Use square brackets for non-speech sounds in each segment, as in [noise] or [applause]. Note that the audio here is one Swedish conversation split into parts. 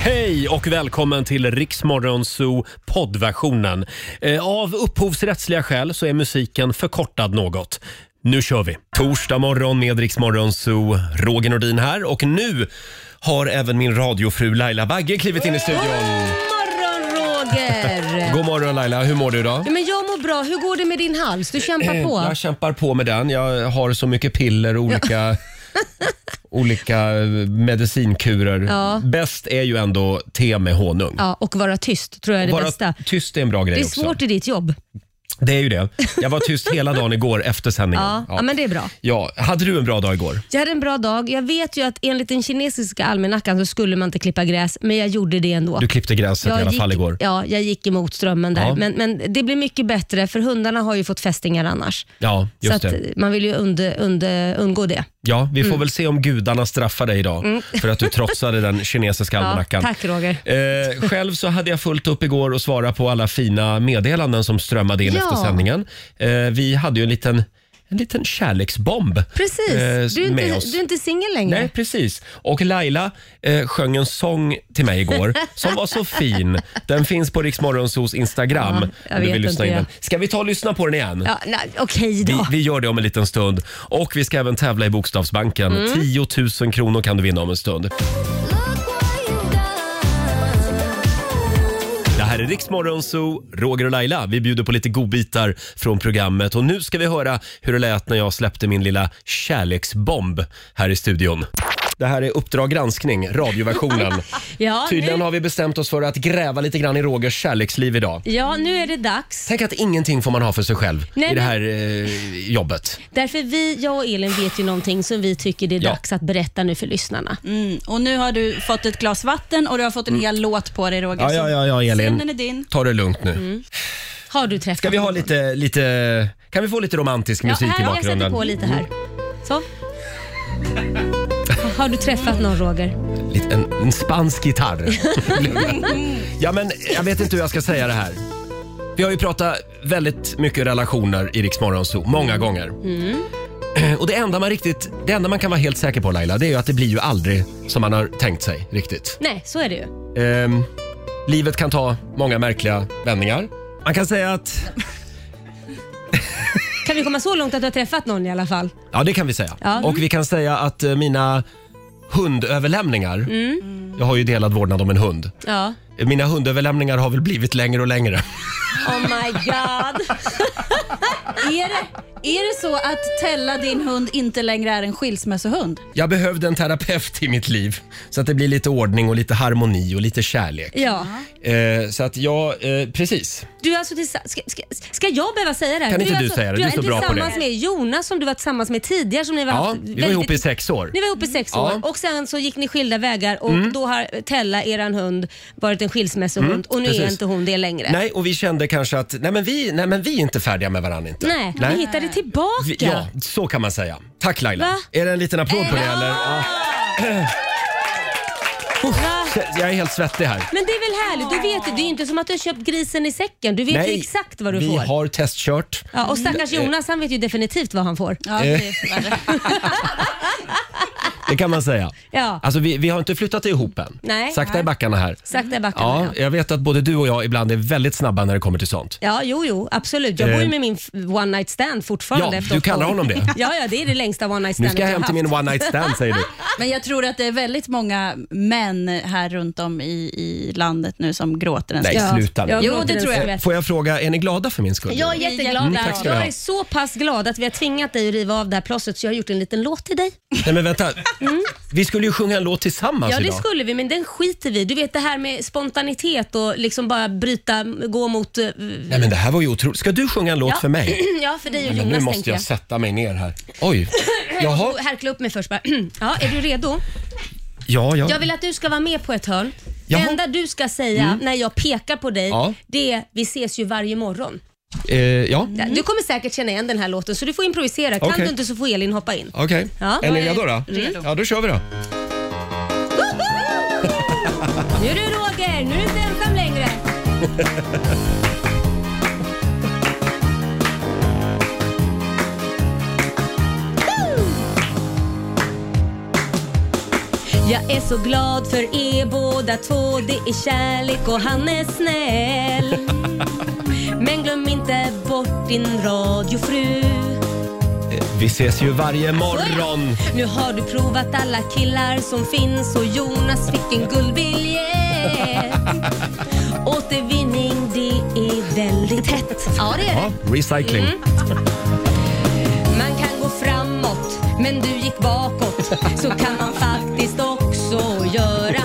Hej och välkommen till Riksmorgon Zoo poddversionen. Eh, Av upphovsrättsliga skäl så är musiken förkortad något. Nu kör vi! Torsdag morgon med Riksmorgon Zoo. Roger Nordin här och nu har även min radiofru Laila Bagge klivit in i studion. morgon Roger! God morgon Laila, hur mår du idag? Ja, men jag mår bra. Hur går det med din hals? Du kämpar Eh, [clears throat] på. Jag kämpar på med den. Jag har så mycket piller och olika, [laughs] olika eh, medicinkurer. Ja. Bäst är ju ändå te med honung. Ja, och vara tyst tror jag är det Vara bästa. tyst är en bra grej Det är också. svårt i ditt jobb. Det är ju det. Jag var tyst hela dagen igår efter sändningen. Ja, ja. men det är bra. Ja, hade du en bra dag igår? Jag hade en bra dag. Jag vet ju att enligt den kinesiska almanackan så skulle man inte klippa gräs, men jag gjorde det ändå. Du klippte gräset i alla gick, fall igår. Ja, jag gick emot strömmen där. Ja. Men, men det blir mycket bättre för hundarna har ju fått fästingar annars. Ja, just så att Mm. det. man vill ju under, under, undgå det. Ja, vi får väl se om gudarna straffar dig idag för att du trotsade den kinesiska Mm. Ja, almanackan. tack Roger. Eh, själv så hade jag fullt upp igår och svara på alla fina meddelanden som strömmade in Ja. efter sändningen. Eh, vi hade ju en liten, en liten kärleksbomb eh, Precis, du, är med inte, oss. du är inte singel längre. Nej, precis. Och Laila eh, sjöng en sång till mig [laughs] igår som var så fin. Den finns på Riksmorgonsos Ja, Instagram. jag om du vet vill lyssna inte, in den. jag- Ska vi ta och lyssna på den igen? Ja, nej, Okej Vi, då. vi gör det om en liten stund. Och vi ska även tävla i Bokstavsbanken. Mm. 10 000 kronor kan du vinna om en stund. Det här är Riksmorgon Zoo, Roger och Laila. Vi bjuder på lite godbitar från programmet. Och nu ska vi höra hur det lät när jag släppte min lilla kärleksbomb här i studion. Det här är Uppdrag granskning, radioversionen. [laughs] Ja, Tydligen nu, har vi bestämt oss för att gräva lite grann i Rogers kärleksliv idag. ja, nu är det dags. Tänk att ingenting får man ha för sig själv Nej, i det men- här eh, jobbet. Därför vi, jag och Elin vet ju någonting som vi tycker det är Ja. dags att berätta nu för lyssnarna. Mm, och nu har du fått ett glas vatten och du har fått en hel låt på dig Roger. Mm. Ja, ja, ja, ja, Elin. Scenen är din. Ta det lugnt nu. Mm. Har du träffat Ska vi ha lite, lite, kan vi få lite romantisk ja, musik här, i Jag sätter bakgrunden? på lite här. Så. Har du träffat någon Roger? Lite- En, en spansk [laughs] gitarr. ja, men jag vet inte hur jag ska säga det här. Vi har ju pratat väldigt mycket relationer i Rix Morgon Zoo, många gånger. Mm. Och det enda, man riktigt, det enda man kan vara helt säker på Laila, det är ju att det blir ju aldrig som man har tänkt sig riktigt. Nej, så är det ju. Ehm, livet kan ta många märkliga vändningar. Man kan säga att... Kan vi komma så långt att du har träffat någon i alla fall? Ja, det kan vi säga. Ja. Och vi kan säga att eh, mina hundöverlämningar, Mm. jag har ju delad vårdnad om en hund. Ja. Mina hundöverlämningar har väl blivit längre och längre. Oh my god. Är det, är det så att Tella, din hund, inte längre är en skilsmässohund? Jag behövde en terapeut i mitt liv så att det blir lite ordning och lite harmoni och lite kärlek. Ja. Eh, så att jag, eh, precis. Du är alltså tillsa- ska, ska, ska jag behöva säga det här? Kan inte är du alltså, säga det? Du är så bra på det. tillsammans med Jonas som du var tillsammans med tidigare. Som ni var Ja, haft vi var väldigt- ihop i sex år. Ni var ihop i sex Ja. Mm. år och sen så gick ni skilda vägar och då har Tella, eran hund, varit en skilsmässohund och nu är precis. inte hon det längre. Nej, och vi kände kanske att nej men vi, nej, men vi är inte färdiga med varandra inte. Nej, vi hittade tillbaka. Vi- Ja, så kan man säga. Tack Laila. Va? Är det en liten applåd på det Ja! eller? Ja. [clears throat] Va? Jag är helt svettig här. Men det är väl härligt? Du vet, det är ju inte som att du har köpt grisen i säcken. Du vet ju exakt vad du vi får. har Mm. testkört. Ja, och stackars Jonas, han vet ju definitivt vad han får. Ja, det är värre. Det kan man säga. [laughs] Ja. Alltså, vi, vi har inte flyttat ihop än. Nej. Sakta i backarna här. Sakta i backarna, Ja, ja. jag vet att både du och jag ibland är väldigt snabba när det kommer till sånt. Ja, jo, jo, absolut. Jag bor ju med min f- one night stand fortfarande. Eh. Ja, efter du åtta kallar år. honom det. Ja, ja, det är det längsta one night Nu standet ska jag hem till haft. min one night stand säger [laughs] du. [laughs] Men jag tror att det är väldigt många män här runt om i, i landet nu som gråter en Nej, skvätt. sluta nu. jag Jo, gråter det en tror jag. skvätt. Får jag fråga, är ni glada för min skull? Jag är Vi är jätteglad. jätteglada. Mm, tack ska du ha. jag är så pass glad att vi har tvingat dig att riva av det här plåstret så jag har gjort en liten låt till dig. Nej men vänta, vi skulle ju sjunga en låt tillsammans Mm. Ja, det Alltså idag. skulle vi, men den skiter vi i. Du vet det här med spontanitet och liksom bara bryta, gå mot... eh, Nej men det här var ju otroligt. Ska du sjunga en låt Ja. för mig? [clears throat] Ja, för dig och Men nu Jonas måste tänker jag jag. sätta mig ner här. Oj. [laughs] Jaha. Och Härkla upp mig först bara. [clears throat] Ja, är du redo? Ja, ja. Jag vill att du ska vara med på ett hörn. Det Jaha. Mm. enda du ska säga när jag pekar på dig, Ja. det är vi ses ju varje morgon. Eh, ja, Du kommer säkert känna igen den här låten så du får improvisera. Kan Okej. du inte så får Elin hoppa in. okej. Ja. Är ni Jag är redo då? redo. Ja, då kör vi då. Nu är du Roger, nu är du inte ensam längre. Jag är så glad för er båda två. Det är kärlek och han är snäll. Men glöm inte bort din radiofru. Eh, Vi ses ju varje morgon. Nu har du provat alla killar som finns och Jonas fick en [laughs] guldbiljett. Återvinning, det är väldigt hett. Ja, Mm. det är det. Ja, recycling. Man kan gå framåt, men du gick bakåt. Så kan man faktiskt också göra.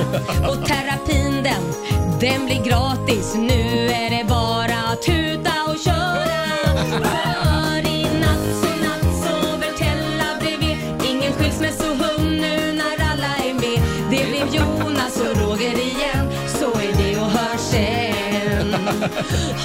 Och terapin den, den blir gratis. Nu är det bara att tuta och köra. För i natt, så natt sover Tella bredvid. Ingen skilsmässohum nu när alla är med. Det blev Jonas och Roger igen. Så är det och hörs sen.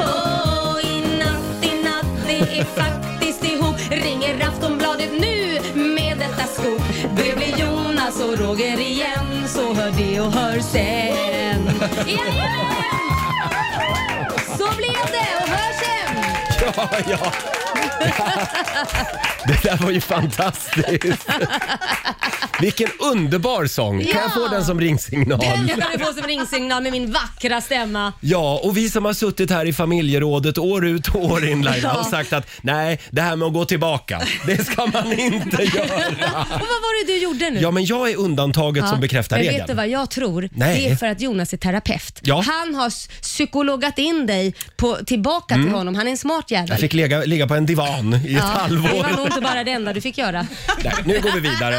Åh, i natt, i natt, det är faktiskt ihop Ringer Aftonbladet nu med detta skop Det blir Jonas och Roger igen Så hör det och hör sen Jajamän! Så blev det och hör sen! [laughs] Ja, ja. [laughs] Det där var ju [laughs] fantastiskt. Vilken underbar sång. Kan jag få den som ringsignal? Den ska du få som ringsignal med min vackra stämma. Ja, och vi som har suttit här i familjerådet år ut och år in Laila Ja. och sagt att nej, det här med att gå tillbaka, det ska man [laughs] inte göra. Och vad var det du gjorde nu? Ja, men jag är undantaget som bekräftar men regeln. vet du vad jag tror? Nej. Det är för att Jonas är terapeut. Ja. Han har s- psykologat in dig på, tillbaka till honom. Han är en smart jävel. Mm. Jag fick ligga, ligga på en divan i ett Det halvår. var nog inte bara det enda du fick [laughs] göra. Nej, nu går vi vidare.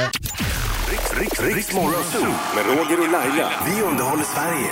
Riks, Riks, Riks Morgonzoo med Roger och Laila. Vi underhåller Sverige.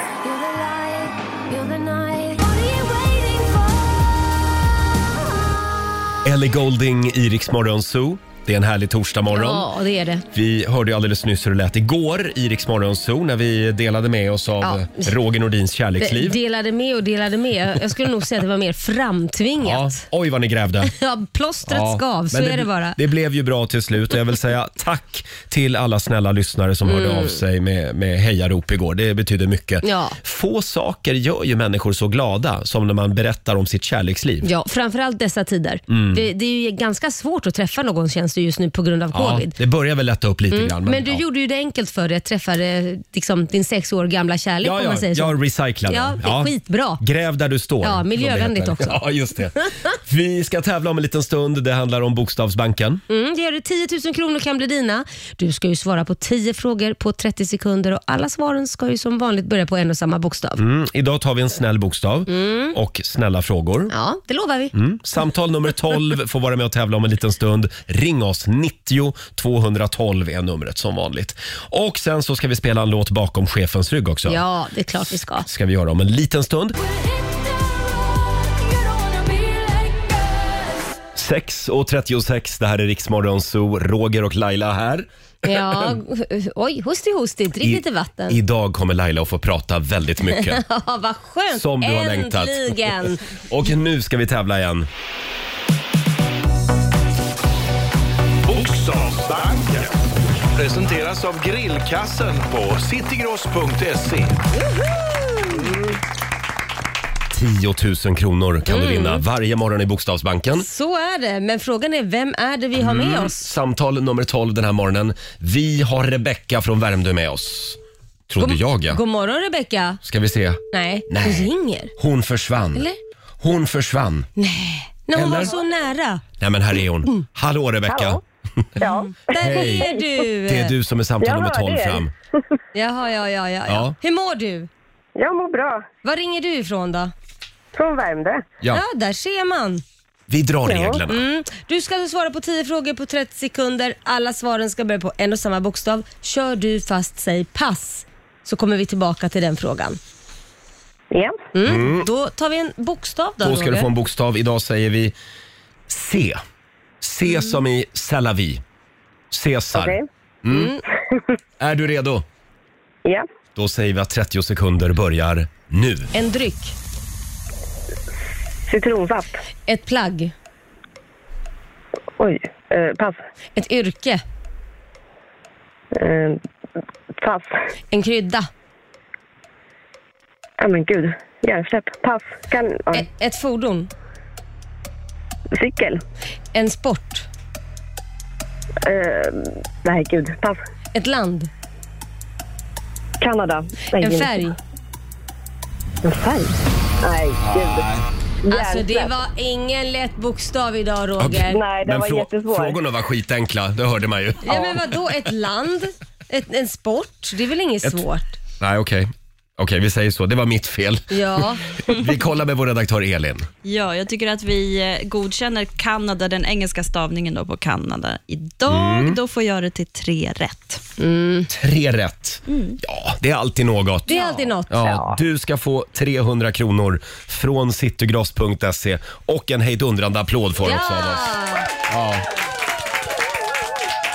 Ellie Golding i Rix Morgon Zoo. Det är en härlig torsdagmorgon. Ja, det är det. Vi hörde ju alldeles nyss hur det lät igår i Rix Morgon Zoo när vi delade med oss av Ja. Roger Nordins De- kärleksliv. Delade med och delade med. Jag skulle nog säga att det var mer Ja. framtvingat. Oj vad ni grävde. Ja. plåstret skav, så men är det bara. Det blev ju bra till slut och jag vill säga tack till alla snälla lyssnare som hörde av sig med, med hejarop igår. Det betyder mycket. Mm. Ja. Få saker gör ju människor så glada som när man berättar om sitt kärleksliv. Ja, framförallt dessa tider. Mm. Det, det är ju ganska svårt att träffa någon känns det just nu på grund av covid. Mm. det börjar väl lätta upp lite grann. Men du ja. gjorde ju det enkelt för dig, träffade liksom, din sex år gamla kärlek Ja, om ja, man säger så. jag recyclade. Ja, det är skitbra. Gräv där du står. Ja, som det miljövänligt heter. också. Ja, just [laughs] det. Vi ska tävla om en liten stund. Det handlar om Bokstavsbanken. Mm, det gör det. 10 000 kronor kan bli dina. Du ska ju svara på 10 frågor på 30 sekunder och alla svaren ska ju som vanligt börja på en och samma bokstav. Mm, idag tar vi en snäll bokstav Mm. och snälla frågor. Ja, det lovar vi. Mm. Samtal nummer 12 får vara med och tävla om en liten stund. Ring oss. 90 212 är numret som vanligt. Och sen så ska vi spela en låt bakom chefens rygg också. Ja, det är klart [laughs] vi ska. ska vi göra om en liten stund. 6.36, det här är Riksmorgon Zoo. Roger och Laila här. Ja, oj, hosti hosti, drick I- lite vatten. Idag kommer Laila att få prata väldigt mycket. [laughs] Ja, [laughs] vad skönt! Som du har längtat. Äntligen! Och nu ska vi tävla igen. Bokstavsbanken. Presenteras av grillkassen på citygross.se. 10 000 kronor kan du Mm. vinna varje morgon i Bokstavsbanken. Så är det, men frågan är vem är det vi har Mm. med oss? Samtal nummer 12 den här morgonen. Vi har Rebecka från Värmdö med oss. Trodde jag ja. God morgon Rebecka. Ska vi se. Nej, Nej. hon ringer. Hon försvann. Eller? Hon försvann. När hon Eller? var så nära. Nej men här är hon. Hallå Rebecka. Hallå. Ja, Där Hej. är du! Det är du som är samtal Jag nummer hörde 12 er. fram. Jaha, ja, ja, ja, Ja. ja. Hur mår du? jag mår bra. Var ringer du ifrån då? Från Värmdö. Ja, Ja, där ser man. vi drar reglerna. Mm. Du ska alltså svara på 10 frågor på 30 sekunder. Alla svaren ska börja på en och samma bokstav. Kör du fast, säg pass, så kommer vi tillbaka till den frågan. Ja. Mm. Då tar vi en bokstav då, Då ska du Roger. få en bokstav. Idag säger vi C. C som i Salavi. Cesar. Okej. Är du redo? Ja. Då säger vi att 30 sekunder börjar nu. En dryck, Citronsaft. ett plagg, Oj. Eh, pass. ett yrke, Eh, pass. en krydda, Ja, men gud. Hjärnsläpp. Pass. Kan, ja. e- ett fordon, Cykel. en sport, Eh, nej, gud. Pass. ett land, Kanada. Nej, En inte. färg. En färg? Nej, gud. Alltså det Hjärnsläpp. var ingen lätt bokstav idag Roger. Nej, den var frå- jättesvår. frågorna var skitenkla, det hörde man ju. Ja men vadå, ett land? Ett, en sport? Det är väl inget svårt? Nej, okej. Okej, vi säger så. Det var mitt fel. Ja. Vi kollar med vår redaktör Elin. Ja, jag tycker att vi eh, godkänner Kanada, den engelska stavningen då på Kanada idag. Då får jag det till tre rätt. Tre rätt. Ja, det är alltid något. Det är alltid något. Ja, du ska få 300 kronor från citygross.se och en hejdundrande applåd får du också av oss.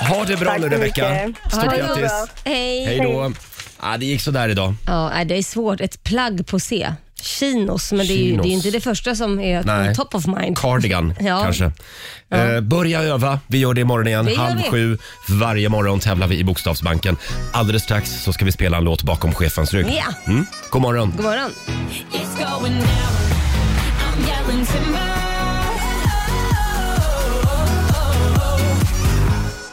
Ha det bra Tack nu så Rebecka. mycket. Stort Ha det grattis. bra. Hej Hej. då. Ja, det gick sådär idag. Ja, nej, det är svårt. Ett plagg på C. Chinos, men det är, ju, det är ju inte det första som är Nej. top of mind. Cardigan [laughs] Ja. kanske. Eh, börja öva. Vi gör det imorgon igen. Det gör Halv vi. sju. Varje morgon tävlar vi i Bokstavsbanken. Alldeles strax så ska vi spela en låt bakom chefens rygg. Ja. Mm. God morgon. God morgon. It's going down. I'm yelling timber.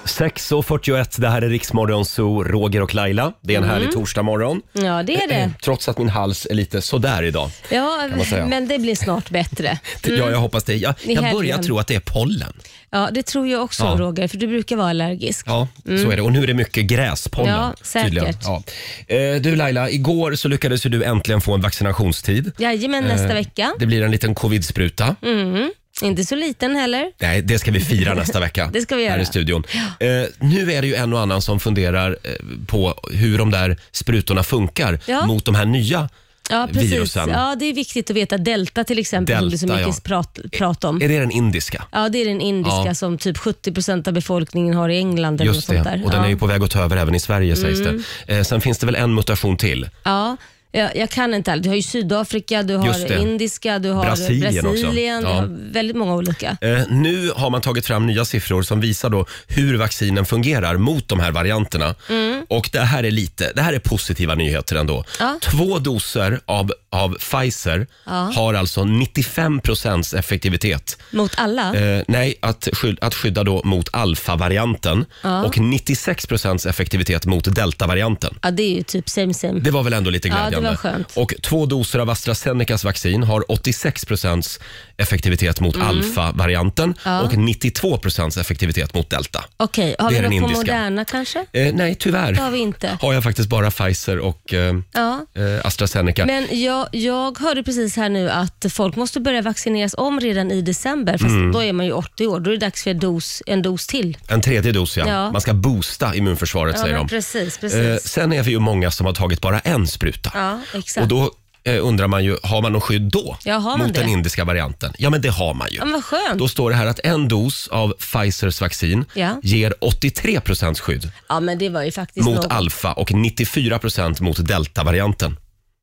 6.41, det här är Riksmorgon Zoo, Roger och Laila. Det är en härlig torsdagmorgon. Mm. Ja, det är det. eh, Trots att min hals är lite sådär idag. Ja, man säga. men det blir snart bättre. Ja, jag hoppas det. Jag, Mm. I jag börjar helgen. tro att det är pollen. Ja, det tror jag också Ja. Roger, för du brukar vara allergisk. Ja, så är det. Och nu är det mycket gräspollen. Mm. Ja, säkert. tydligen. Ja. Eh, Du Laila, igår så lyckades ju du äntligen få en vaccinationstid. Jajamän, Eh, nästa vecka. Det blir en liten covid-spruta. Mm. Inte så liten heller. Nej, det ska vi fira [laughs] nästa vecka. Det ska vi Här göra. i studion. Eh, nu är det ju en och annan som funderar eh, på hur de där sprutorna funkar Ja. mot de här nya Ja, precis. virusen. Ja, det är viktigt att veta. Delta till exempel, som det är så Delta, mycket ja. prat, prat om. Är det den indiska? Ja, det är den indiska Ja. som typ 70% av befolkningen har i England. Eller något Just det, sånt där. och den ja. Mm. är ju på väg att ta över även i Sverige sägs det. Eh, sen finns det väl en mutation till? Ja, jag, jag kan inte allt. Du har ju Sydafrika, du Just det. har indiska, du har Brasilien också. Brasilien, du Ja. har väldigt många olika. Eh, nu har man tagit fram nya siffror som visar då hur vaccinen fungerar mot de här varianterna. Och det här är lite, det här är positiva nyheter ändå. Ja. Två doser av, av Pfizer har alltså 95 effektivitet. Mot alla? Eh, nej, att, sky- att skydda då mot alfa-varianten och 96 effektivitet mot delta-varianten. Ja, det är ju typ same same. Det var väl ändå lite Ja, det glädjande. var skönt. Och två doser av AstraZenecas vaccin har 86 effektivitet mot Mm. alfa-varianten och 92 effektivitet mot delta. Okej, har det vi är den något på indiska. Moderna kanske? Eh, nej, tyvärr Det har vi inte. har jag faktiskt bara Pfizer och eh, Ja. eh, AstraZeneca. Men jag, jag hörde precis här nu att folk måste börja vaccineras om redan i december, fast Mm. då är man ju 80 år. Då är det dags för en dos, en dos till. En tredje dos, ja. Ja. Man ska boosta immunförsvaret, Ja, säger men de. precis, Eh, precis. sen är vi ju många som har tagit bara en spruta. Ja, exakt. Och då eh, undrar man ju, har man någon skydd då? Ja, har man mot det? den indiska varianten? Ja, men det har man ju. Ja, men vad skönt. Då står det här att en dos av Pfizers vaccin Ja. ger 83 skydd Ja, men det var ju faktiskt mot något. alfa och 94 mot delta-varianten.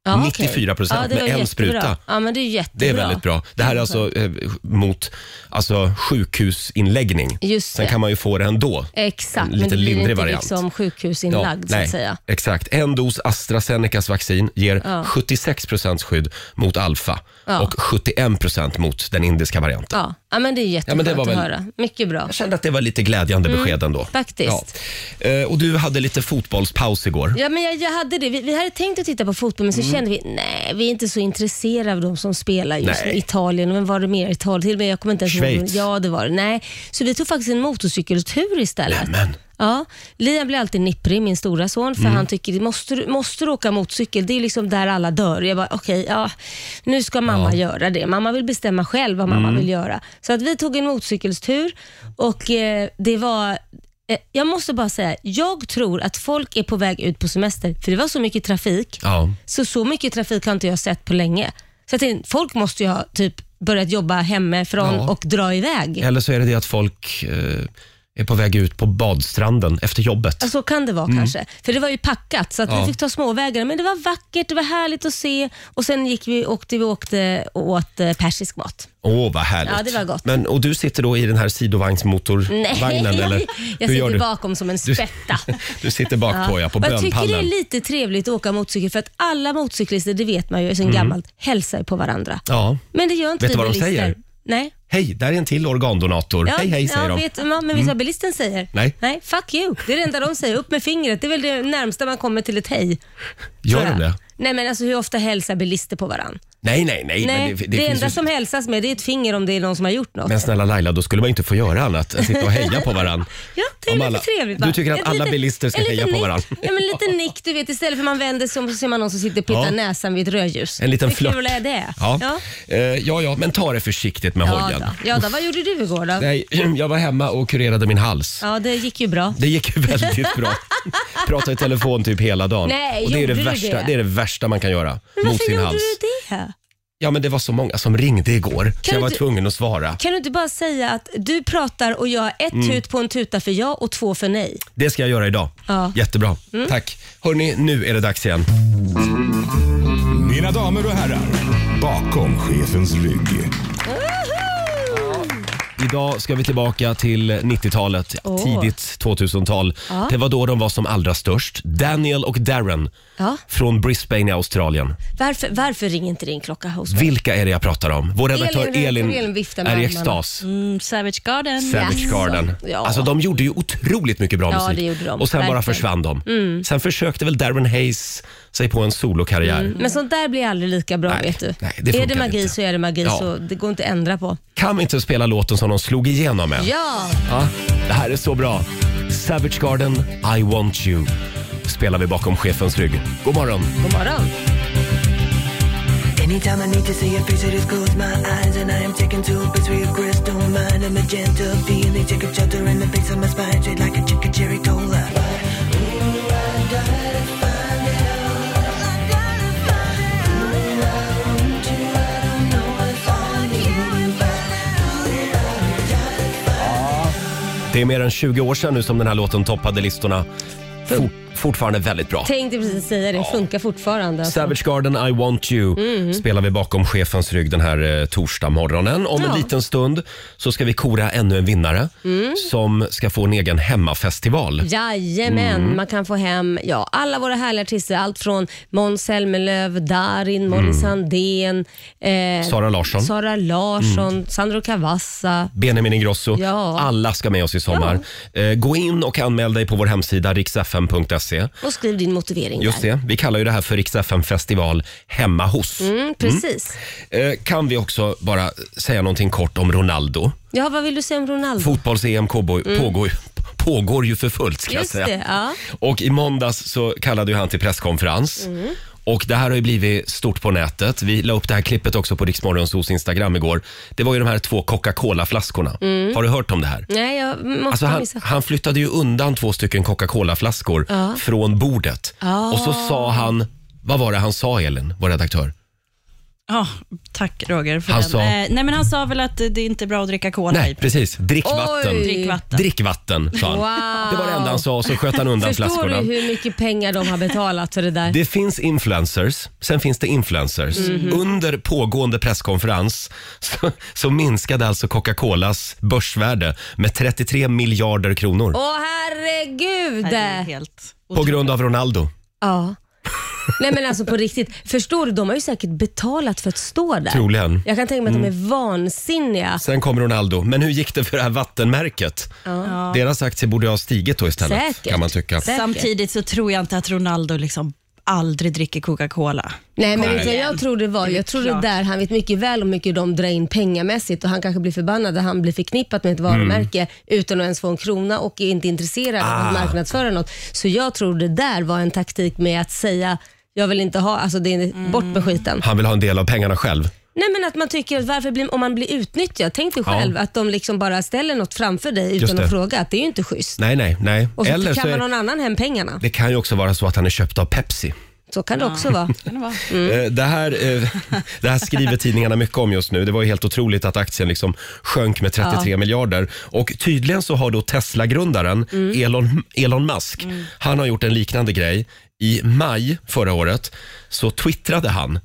ja, 94 okej. ja, det med var en jättebra. spruta. Ja, men det är ju jättebra. Det är väldigt bra. Det här är alltså eh, mot alltså, sjukhusinläggning. Just Sen det. kan man ju få det ändå. Exakt, En lite men det blir lindrig inte variant. liksom sjukhusinlagd så nej, att säga. Exakt. En dos AstraZenecas vaccin ger 76 skydd mot alfa och 71 mot den indiska varianten. Ja, ja men det är jättebra Ja, men det var att väl- höra. Mycket bra. Jag kände att det var lite glädjande besked ändå. Mm. faktiskt. Ja. Eh, Och du hade lite fotbollspaus igår. Ja, men jag, jag hade det. Vi, vi hade tänkt att titta på fotboll, men så Mm. kände vi nej, vi är inte så intresserade av de som spelar just nu. Nej. Italien, men var det mer Italien? Till och med, jag kommer inte ens Schweiz. Ja, det var det. Nej. Så vi tog faktiskt en motorcykeltur istället. Nämen. Ja, Liam blir alltid nipprig, min stora son, för han tycker det måste, du- måste du åka motorcykel? Det är ju liksom där alla dör. Jag bara, okej, ja, nu ska mamma göra det. Mamma vill bestämma själv vad mamma vill göra. Så att vi tog en motorcykelstur och eh, det var eh, jag måste bara säga, jag tror att folk är på väg ut på semester, för det var så mycket trafik. Ja. Så så mycket trafik har inte jag sett på länge. Så att det- folk måste ju ha typ börjat jobba hemifrån Ja. och dra iväg. Eller så är det det att folk eh, är på väg ut på badstranden efter jobbet. Ja, så kan det vara kanske. För det var ju packat så att Mm. Ja. vi fick ta småvägar. Men det var vackert, det var härligt att se och sen gick vi, åkte vi åkte och åt eh, persisk mat. Åh, vad härligt. Ja, det var gott. Men, och du sitter då i den här Nej, sidovagnsmotorvagnen? eller? Hur [laughs] jag gör sitter du? bakom som [laughs] en spetta. Du sitter bak på, ja, på jag tycker det är bönpallen. lite trevligt att åka motorcykel för att alla motorcyklister, det vet man ju sen gammalt, hälsar på varandra. Ja. Men det gör inte Mm. Vet du vi vad de bilister. säger? Nej. Hej, där är en till organdonator. Ja, hej, hej, ja, säger de. Mm. Vet, ja, men vet du vad bilisten säger? Nej. Nej, fuck you. Det är det enda de säger. Upp med fingret. Det är väl det närmsta man kommer till ett hej. Gör tror de jag. det? Nej, men alltså hur ofta hälsar bilister på varandra? Nej, nej, nej. Nej, men det, det, det finns enda ju... som hälsas med det är ett finger om det är någon som har gjort något. Men snälla Laila, då skulle man ju inte få göra annat än sitta och heja på varandra. [laughs] Ja, det är Om lite alla- trevligt du va? tycker att Ett alla litet- bilister ska en liten heja på nick. varandra. Ja, men lite nick du vet. Istället för man vänder sig om så ser man någon som sitter och petar Ja. näsan vid ett rödljus. En liten flört. Hur kul är det? Ja. Ja. Eh, ja, ja, men ta det försiktigt med Ja, hojen. då. ja då, vad gjorde du igår då? Nej, [clears throat] jag var hemma och kurerade min hals. Ja, det gick ju bra. Det gick ju väldigt [laughs] bra. Pratade i telefon typ hela dagen. Nej, och det, är det, gjorde du värsta, det? det är det värsta man kan göra Men mot varför sin gjorde hals. du det? Ja, men det var så många som ringde igår så Kan jag du var inte- tvungen att svara. Kan du inte bara säga att du pratar och jag har ett Mm. tut på en tuta för ja och två för nej? Det ska jag göra idag. Ja. Mm. Jättebra. Tack. Hörni, nu är det dags igen. Mina damer och herrar, bakom chefens rygg. Idag ska vi tillbaka till 90-talet, Åh. tidigt 2000-tal. Det var då de var som allra störst. Daniel och Darren Ja. från Brisbane i Australien. Varför, varför ringer inte din klocka hos mig? Vilka är det jag pratar om? Vår redaktör Elin- Elin, Elin viftar med är i armarna. extas. Mm, Savage Garden. Savage Jaså. Garden. Ja. Alltså de gjorde ju otroligt mycket bra Ja, musik. det gjorde de. Och sen bara Verkligen. Mm. försvann de. Sen försökte väl Darren Hayes sig på en solokarriär. Men sånt där blir aldrig lika bra Nej, vet du. nej, det är funkar det magi inte. så är det magi Ja. så det går inte att ändra på. Kan vi inte spela låten som de slog igenom med? Ja! Ja, det här är så bra. Savage Garden, I want you. Spelar vi bakom chefens rygg. God morgon. God morgon. Anytime I need to see your face, I just close my eyes and I am taken to a picture of crystal mind. A magenta feeling, take a shelter in the face of my spine, straight like a chicken cherry cola. Det är mer än 20 år sedan nu som den här låten toppade listorna. Fort, fortfarande väldigt bra. Tänkte precis säga det, funkar fortfarande. alltså. Mhm. Savage Garden, I want you spelar vi bakom chefens rygg den här eh, torsdag morgonen. Om en Ja. Mm. liten stund så ska vi kora ännu en vinnare som ska få en egen hemmafestival. Jajamän, Mm. man kan få hem ja, alla våra härliga artister. Allt från Måns Zelmerlöw, Darin, Molly Sandén, eh, Mm. Sara Larsson. Mm. Sara Larsson, Sandro Cavazza. Benjamin Ingrosso. Ja. Alla ska med oss i sommar. Eh, Gå in och anmäl dig på vår hemsida riksfm.se. Och skriv din motivering Just där. det, vi kallar ju det här för riksfm festival hemma hos. Mm, precis. Eh, Kan vi också bara säga någonting kort om Ronaldo? Ja, vad vill du säga om Ronaldo? Fotbolls-EM pågår, pågår, pågår ju för fullt ska Mm. Just jag säga. det, ja. Och i måndags så kallade ju han till presskonferens. Mm. Och Det här har ju blivit stort på nätet. Vi la upp det här klippet också på Riksmorgonsos Instagram igår. Det var ju de här två Coca-Cola-flaskorna. Har du hört om det här? Nej, Mm. jag måste Alltså han, missa. han flyttade ju undan två stycken Coca-Cola-flaskor från bordet. Och så sa han, vad var det han sa Elin, vår redaktör? Ah, Ja, tack Roger för Han den. sa- Eh, nej, men han sa väl att det inte är bra att dricka cola Nej, i. precis. Drick vatten. Drick vatten. Drick vatten, sa han. Wow. Det var det enda han sa och så sköt han undan Förstår flaskorna. du hur mycket pengar de har betalat för det där? Det finns influencers, sen finns det influencers. Mhm. Under pågående presskonferens så, så minskade alltså Coca-Colas börsvärde med 33 miljarder kronor Åh herregud! Nej, det är helt på grund av Ronaldo. Ja. Nej men alltså på riktigt. Förstår du, de har ju säkert betalat för att stå där. Troligen. Mm. Jag kan tänka mig att de är vansinniga. Sen kom Ronaldo. Men hur gick det för det här vattenmärket? Deras aktie borde ha stigit då istället, Säkert. kan man tycka. Säkert. Samtidigt så tror jag inte att Ronaldo liksom aldrig dricker Coca-Cola. Nej men Nej. vet du vad jag tror det var, Det är jag tror det klart. där, han vet mycket väl hur mycket de drar in pengamässigt och han kanske blir förbannad att han blir förknippat med ett Mm. varumärke utan att ens få en krona och är inte intresserad av Ah. att marknadsföra något. Så jag tror det där var en taktik med att säga jag vill inte ha, alltså det är bort med skiten. Han vill ha en del av pengarna själv. Nej men att man tycker att varför blir, om man blir utnyttjad, tänk dig Ja. själv att de liksom bara ställer något framför dig Just utan det. att fråga, att det är ju inte schysst. Nej, nej, nej. Och så Eller så kan man är, någon annan hem pengarna. det kan ju också vara så att han är köpt av Pepsi. Så kan det [laughs] också vara. Kan det vara? Mm. Eh, Det här, eh, [laughs] det här skriver tidningarna mycket om just nu. Det var ju helt otroligt att aktien liksom sjönk med 33 miljarder. Och tydligen så har då Tesla-grundaren Mm. Elon, Elon Musk, han har gjort en liknande grej. I maj förra året så twittrade han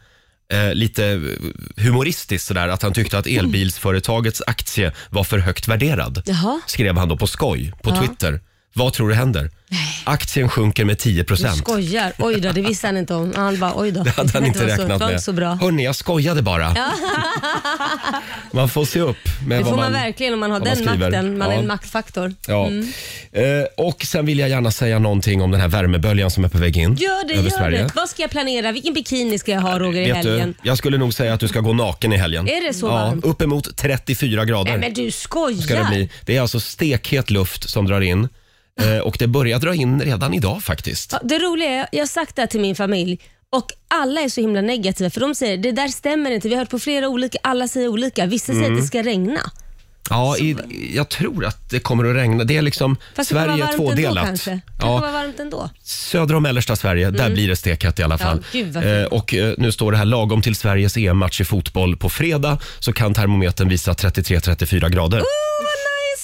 eh, lite eh, humoristiskt sådär att han tyckte Mm. att elbilsföretagets aktie var för högt värderad. Jaha. Skrev han då på skoj på Twitter. Vad tror du händer? Aktien sjunker med 10 Du skojar. Oj då, det visste han inte om. Han bara, oj då. Det hade han inte var så- räknat var med. inte så bra. Hörni, jag skojade bara. Ja. Man får se upp med Det vad får man man verkligen om man har vad man den skriver. makten. Man Ja. är en maktfaktor. Ja. Mm. Eh, och sen vill jag gärna säga någonting om den här värmeböljan som är på väg in Gör det, över gör Sverige. det. Vad ska jag planera? Vilken bikini ska jag ha Roger i Vet helgen? Du, jag skulle nog säga att du ska gå naken i helgen. Är det så ja, varmt? Uppemot 34 grader Nej men du skojar! ska det bli. Det är alltså stekhet luft som drar in. Eh, och det börjar dra in redan idag faktiskt. Ja, Det roliga är, jag har sagt det här till min familj och alla är så himla negativa för de säger det där stämmer inte. Vi har hört på flera olika, alla säger olika. Vissa säger Mm. att det ska regna. Ja, i, jag tror att det kommer att regna. Det är liksom Fast det kommer Sverige vara är varmt ändå tvådelat. kanske. Det kommer vara Ja, varmt ändå. södra och mellersta Sverige, där Mm. blir det stekhett i alla Ja, fall. gud vad fint. Eh, och eh, nu står det här lagom till Sveriges EM-match i fotboll på fredag så kan termometern visa 33-34 grader.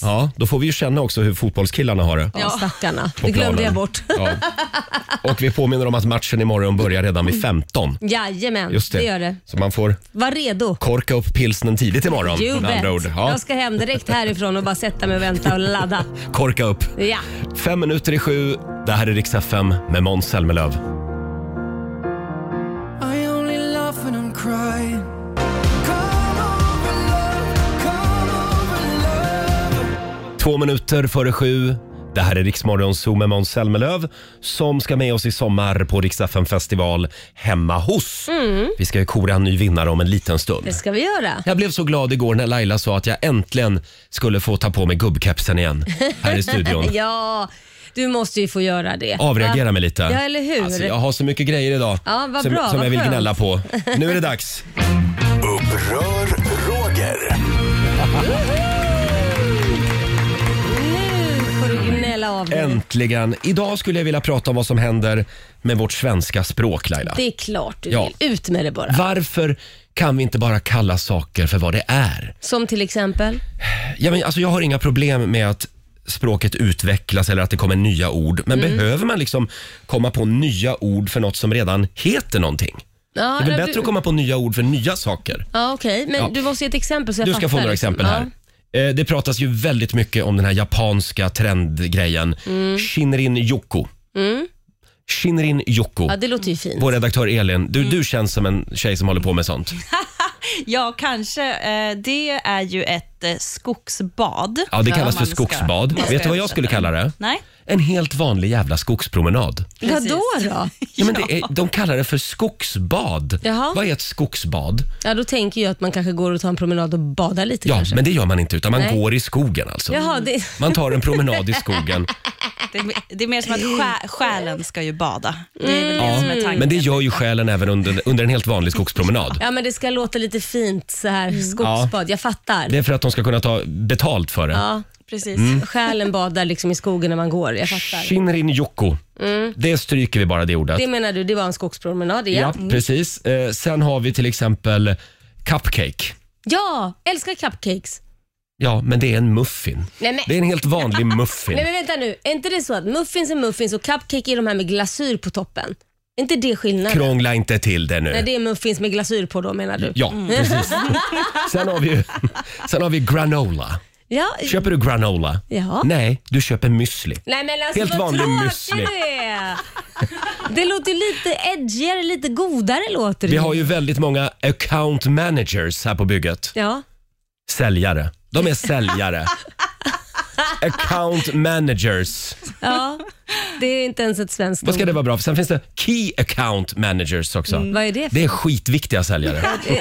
Ja, då får vi ju känna också hur fotbollskillarna har det. Ja, stackarna. På Det glömde planen. jag bort. Ja. Och vi påminner om att matchen imorgon börjar redan vid 15. Jajamän, Just det. det gör det. Så man får Var redo. korka upp pilsnen tidigt imorgon. You med bet. andra ord. Ja, Jag ska hem direkt härifrån och bara sätta mig och vänta och ladda. Korka upp. Ja. Fem minuter i sju. Det här är Rix FM med Måns Zelmerlöw. I only laugh when I'm crying. Två minuter före sju. Det här är Riksmorgon Zoo med Måns Zelmerlöw som ska med oss i sommar på Rix FM festival hemma hos. Mm, Vi ska ju kora en ny vinnare om en liten stund. det ska vi göra. Jag blev så glad igår när Laila sa att jag äntligen skulle få ta på mig gubbkepsen igen här i studion. [laughs] ja, du måste ju få göra det. Avreagera mig lite. Ja, eller hur? Alltså, jag har så mycket grejer idag Ja, vad som, bra, som vad jag vill skönt. gnälla [laughs] på. Nu är det dags. Upprör Roger. Nu får du gnälla av dig. Äntligen! Idag skulle jag vilja prata om vad som händer med vårt svenska språk, Laila. Det är klart du Ja. vill. Ut med det bara. Varför kan vi inte bara kalla saker för vad det är? Som till exempel? Ja, men, alltså, jag har inga problem med att språket utvecklas eller att det kommer nya ord. Men Mm. behöver man liksom komma på nya ord för något som redan heter någonting? Ja, det är väl ja, bättre du- att komma på nya ord för nya saker? Ja, okej. Men Ja. du måste ge ett exempel så jag Du ska fattar, få några liksom. exempel här. Eh, Det pratas ju väldigt mycket om den här japanska trendgrejen. Mm. Shinrin Yoko. Ja. Mm. Shinrin Yoko. ja, det Mm. låter ju fint. Vår redaktör Elin, du, du känns som en tjej som håller på med sånt. Ja, kanske. Eh, Det är ju ett eh, skogsbad. Ja, det Om kallas man för ska- skogsbad. man ska Vet du vad jag översätta skulle kalla det? Nej. En helt vanlig jävla skogspromenad. Vadå då? Ja, men det är, de kallar det för skogsbad. Jaha. Vad är ett skogsbad? Ja, då tänker jag att man kanske går och tar en promenad och badar lite Ja, kanske. men det gör man inte utan man Nej. går i skogen alltså. Jaha, det... Man tar en promenad i [laughs] skogen. Det är, det är mer som att sjä, själen ska ju bada. Det är väl det Mm. Ja, som är tanken. men det gör ju själen även under, under en helt vanlig skogspromenad. Ja, men det ska låta lite fint så här skogsbad. Jag fattar. Det är för att de ska kunna ta betalt för det. Ja, precis. Mm. Själen badar liksom i skogen när man går. Jag fattar. Shinrin Yoko. Mm. Det stryker vi bara det ordet. Det menar du, det var en skogspromenad igen. ja, Mm. precis. Eh, sen har vi till exempel cupcake. Ja, älskar cupcakes. Ja, men det är en muffin. Nej, men- Det är en helt vanlig muffin. [laughs] Nej men vänta nu, är inte det så att muffins är muffins och cupcake är de här med glasyr på toppen? Är inte det skillnaden? Krångla inte till det nu. Nej, det är muffins med glasyr på då menar du? Ja, [laughs] precis. Sen har vi ju, sen har vi granola. ja. Köper du granola? Ja. Nej, du köper müsli. Nej men alltså Helt vad vanlig tråkig müsli. du är. Det låter lite edgigare, lite godare låter det. Vi har ju väldigt många account managers här på bygget. Ja. Säljare. De är [laughs] säljare. account managers. ja, det är inte ens ett svenskt Vad ska ord. det vara bra för? Sen finns det key account managers också. Mm, vad är det för- Det är skitviktiga säljare. [laughs] [laughs]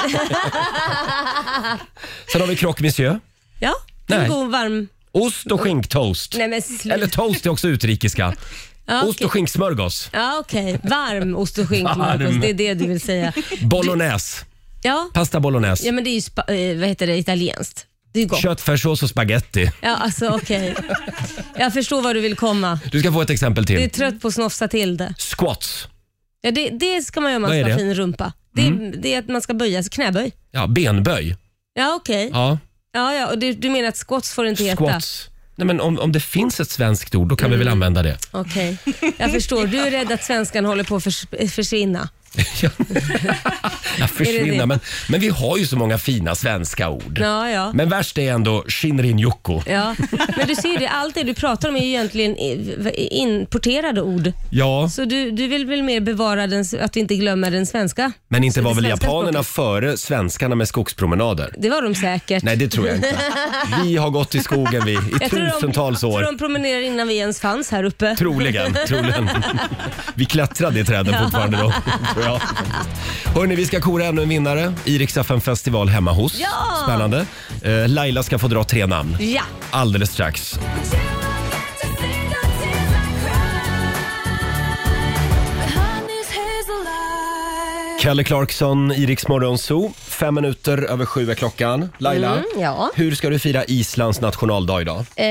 Sen har vi croque monsieur. Ja, en Nej. god varm... Ost och skinktoast. Mm. Nej men sluta. Eller toast är också utrikiska. [laughs] Ja, Ost och skinksmörgås. Ja okej, varm ost och skink Varm. Marcus, det är det du vill säga. Bolognese. Ja, Pasta bolognese. ja men det är ju spa, eh, vad heter det, italienskt. Det är ju gott. Köttfärssås och spaghetti. Ja, alltså okej. Jag förstår vad du vill komma. Du ska få ett exempel Du är till. trött på att snofsa till det. Squats. Ja, det, det ska man göra om man Vad är ska ha det? Mm. fin rumpa. Det, är- det är att man ska böja sig, knäböj. Ja, benböj. Ja, okej. Ja. Ja, Ja, och du, du menar att squats får inte heta? Mm. squats. Nej, men om, om det finns ett svenskt [laughs] ord, då kan vi väl använda det. Okej, jag förstår. Du är rädd att svenskan håller på att förs- försvinna. Jag Är det försvinner, det? men, men vi har ju så många fina svenska ord. Ja, ja. Men värst är ändå Shinrin-Yoko. Ja, men du ser ju det, allt det du pratar om är ju egentligen i- importerade ord. Ja, Så du, du vill väl mer bevara den, att vi inte glömmer den svenska? men inte var väl svenska japanerna före svenskarna med skogspromenader? Det var de säkert. Nej, det tror jag inte. [laughs] Vi har gått i skogen vi, i Jag tror de- tusentals Tror år. de promenerade innan vi ens fanns här uppe. Troligen, troligen. Vi klättrade i träden Ja. fortfarande då, tror jag. Hörni, vi ska kora ännu en vinnare i Riksaffen festival hemma hos. Ja! Spännande. Eh, Laila ska få dra tre namn. Ja. Alldeles strax. Kelly Clarkson, Iriks morgonzoo. Fem minuter över sju är klockan. Laila, Mm, ja. hur ska du fira Islands nationaldag idag? Eh,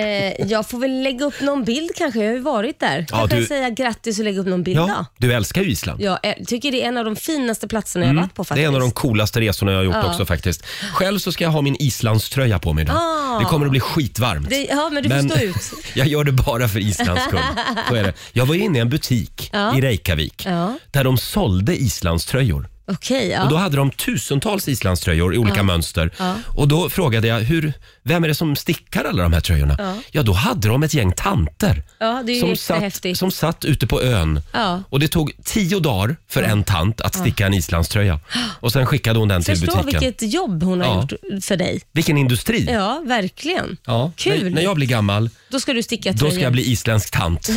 jag får väl lägga upp någon bild kanske. Jag har ju varit där. Ja, kanske du- säga grattis och lägga upp någon bild då. du älskar ju Island. Jag eh, tycker det är en av de finaste platserna jag Mm, varit på Det faktiskt. är en av de coolaste resorna jag har gjort Ja. också faktiskt. Själv så ska jag ha min Islandströja på mig idag. Ah. Det kommer att bli skitvarmt. Det- ja, men du får stå ut. [laughs] jag gör det bara för Islands skull. Så är det. Jag var inne i en butik Ja. i Reykjavik Ja, där de sålde Islandströjor. okej. ja. Och då hade de tusentals Islandströjor i olika Ja. mönster. Ja. Och då frågade jag, hur, vem är det som stickar alla de här tröjorna? Ja. ja då hade de ett gäng tanter ja, det är ju som extra satt, häftigt. som satt ute på ön Ja. och det tog tio dagar för en tant att sticka en islandströja. Och sen skickade hon den till Förstå butiken. vilket jobb hon har Ja. gjort för dig. Vilken industri! Ja, verkligen. Ja. Kul. När, när jag blir gammal, Då ska du sticka då tröjor. ska jag bli isländsk [laughs] tant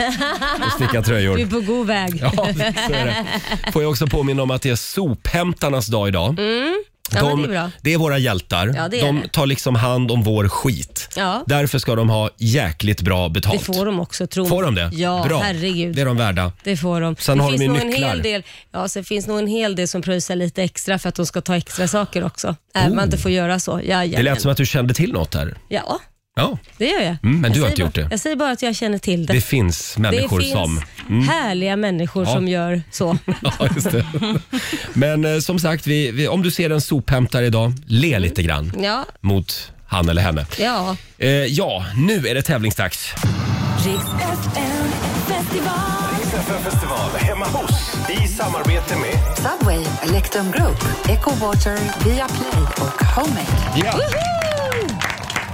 och sticka tröjor. Du är på god väg. Ja, så är det. Får jag också påminna om att det är sophämtarnas dag idag. Mm. Ja, De, men det är bra. det är våra hjältar. Ja, det är de det. tar liksom hand om vår skit. Ja. Därför ska de ha jäkligt bra Det betalt. får de också, tro mig. Får de det? Ja, Bra. herregud. Det är de värda. Det får de. Sen det har de finns ju nog en nycklar. hel del, ja, sen finns nog en hel del som pröjsar lite extra för att de ska ta extra saker också. Även om man inte får göra så. Ja, Oh. Det lät som att du kände till något där. Ja, Ja. det gör jag. Mm, men jag du har säger inte gjort bara, det. Jag säger bara att jag känner till det. Det finns människor det finns [laughs] som... Mm. härliga människor Ja. som gör [laughs] så. Ja, just det. Men eh, som sagt, vi, vi, om du ser en sophämtare idag, le lite grann Mm. Ja, mot han eller henne. ja. Eh, ja, nu är det tävlingsdags. Riks FM festival. Festival hemma hos i samarbete med Subway, Electrum Group, Echo Water, Viaplay och Homemade. Ja.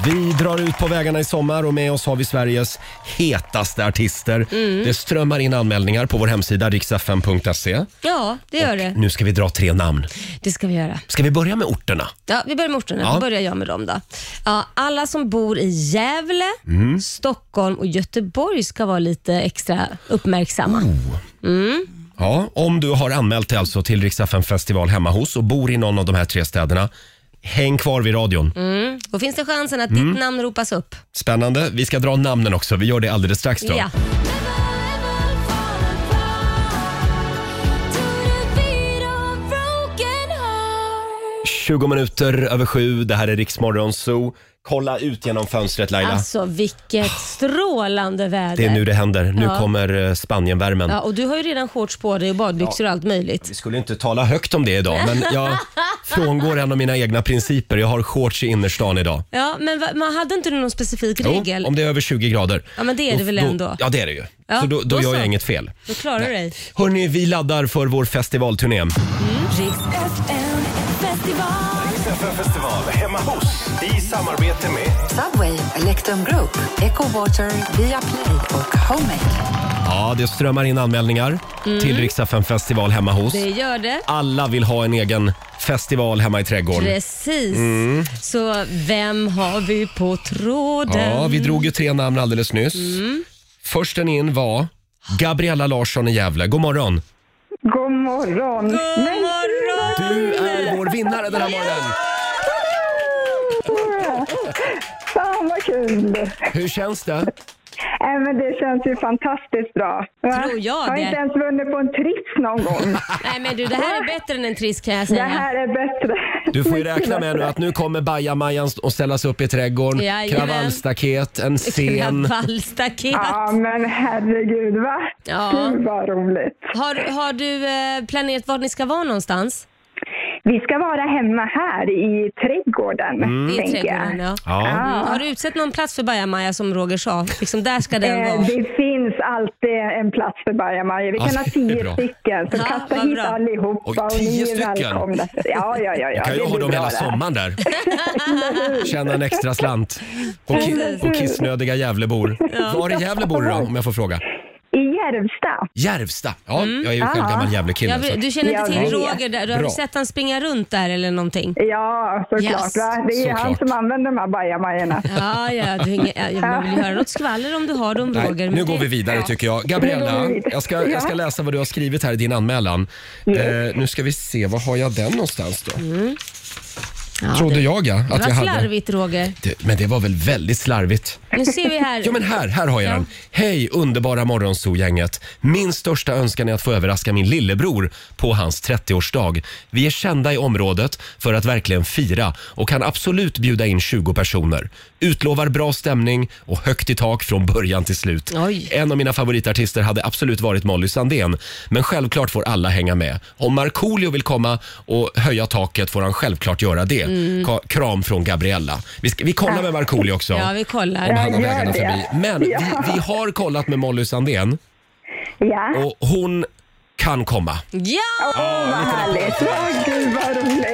Vi drar ut på vägarna i sommar och med oss har vi Sveriges hetaste artister. Mm. Det strömmar in anmälningar på vår hemsida riksfm.se. ja, det gör det. Nu ska vi dra tre namn. Det ska vi göra. Ska vi börja med orterna? Ja, vi börjar med orterna. Ja. Då börjar jag med dem då. Ja, alla som bor i Gävle, Mm. Stockholm och Göteborg ska vara lite extra uppmärksamma. Mm. Ja, om du har anmält dig alltså till Riksdagen festival hemma hos och bor i någon av de här tre städerna, häng kvar vid radion. Mm. Då finns det chansen att Mm. ditt namn ropas upp. Spännande. Vi ska dra namnen också. Vi gör det alldeles strax. Då. Ja. Broken heart. 20 minuter över sju. Det här är Riksmorgon Zoo. Kolla ut genom fönstret Laila. Alltså vilket strålande väder. det är nu det händer. Nu Ja. kommer eh, Spanienvärmen. Ja, och du har ju redan shorts på dig och badbyxor och allt möjligt. Vi skulle inte tala högt om det idag, men [laughs] jag frångår en av mina egna principer. Jag har shorts i innerstan idag. Ja, men va, man hade inte du någon specifik regel? om det är över 20 grader. Ja, men det är Då- det väl då- ändå. Ja, det är det ju. Ja, så då, då, då gör så. jag inget fel. Då klarar du dig. Hörni, vi laddar för vår festivalturné. Riks FM festival. festival hemma hos i samarbete med Subway, Electrum Group, Echo Water, Viaplay och Homemade. Ja, det strömmar in anmälningar Mm. till Riksdagen festival hemma hos. Det gör det. Alla vill ha en egen festival hemma i trädgården. Precis. Mm. Så vem har vi på tråden? Ja, vi drog ju tre namn alldeles nyss. Mm. Försten in var Gabriella Larsson i Gävle. God morgon! God morgon! God morgon! Du är vår vinnare den här morgonen. Fan vad kul! Hur känns det? Äh, men det känns ju fantastiskt bra. Va? Tror jag har det. inte ens vunnit på en triss någon [laughs] gång. Nej men du, det här är bättre än en triss kan jag det säga. här är bättre. Du får ju Mycket räkna med bättre. nu att nu kommer bajamajan och ställa sig upp i trädgården. Jajamän. Kravallstaket, en scen. Kravallstaket. Ja, men herregud va? Ja. Gud vad roligt. Har, har du eh, planerat var ni ska vara någonstans? Vi ska vara hemma här i trädgården, Mm. I tänker jag. trädgården, ja. Ja. Ah. Mm. Har du utsett någon plats för Baja-Maja som Roger sa? Liksom, där ska den Eh, vara. Det finns alltid en plats för Bajamaja. Vi Ja, kan ha det är tio bra. stycken, så Ja, kasta vad hit bra. allihopa. Oj, och ni tio är stycken? välkomna. Ja, ja, ja. ja. Jag kan ju det ha blir dem bra hela det. sommaren där. [laughs] Tjäna en extra slant. Och, ki- och kissnödiga Gävlebor. Var är Gävlebor då, om jag får fråga? I Järvsta. Järvsta. Ja, jag är ju själv Ja. gammal Gävlekille. Jag så att- vet- du känner inte Mm. Ah. Jag till vet. Roger där? Du har Bra. sett han springa runt där eller någonting? Ja, såklart. Yes, va? Det är ju han såklart. som använder de här bajamajorna. Ja, ja, du, hänger- ja, jag vill ju höra något skvaller om du har dem Nej, Roger. men nu det- går vi vidare tycker jag. Nu Gabriella, går vi vidare. jag ska, jag ska Ja. läsa vad du har skrivit här i din anmälan. Eh, nu ska vi se, var har jag den någonstans då? Trodde jag ja, Mm. Det att var jag hade. slarvigt Roger. Det, men det var väl väldigt slarvigt. Nu ser vi här. Ja men här, här har jag Ja. den. Hej underbara morgonzoo-gänget. Min största önskan är att få överraska min lillebror på hans 30-årsdag. Vi är kända i området för att verkligen fira och kan absolut bjuda in 20 personer. Utlovar bra stämning och högt i tak från början till slut. Oj. En av mina favoritartister hade absolut varit Molly Sandén, men självklart får alla hänga med. Om Markoolio vill komma och höja taket får han självklart göra det. Mm. Ka- Kram från Gabriella. Vi, ska, vi kollar med Markoolio också Ja, vi kollar. om han har gör vägarna det. förbi. Men Ja. vi, vi har kollat med Molly Sandén Ja. Åh, och hon kan komma. Ja! vad härligt. Åh, gud vad roligt.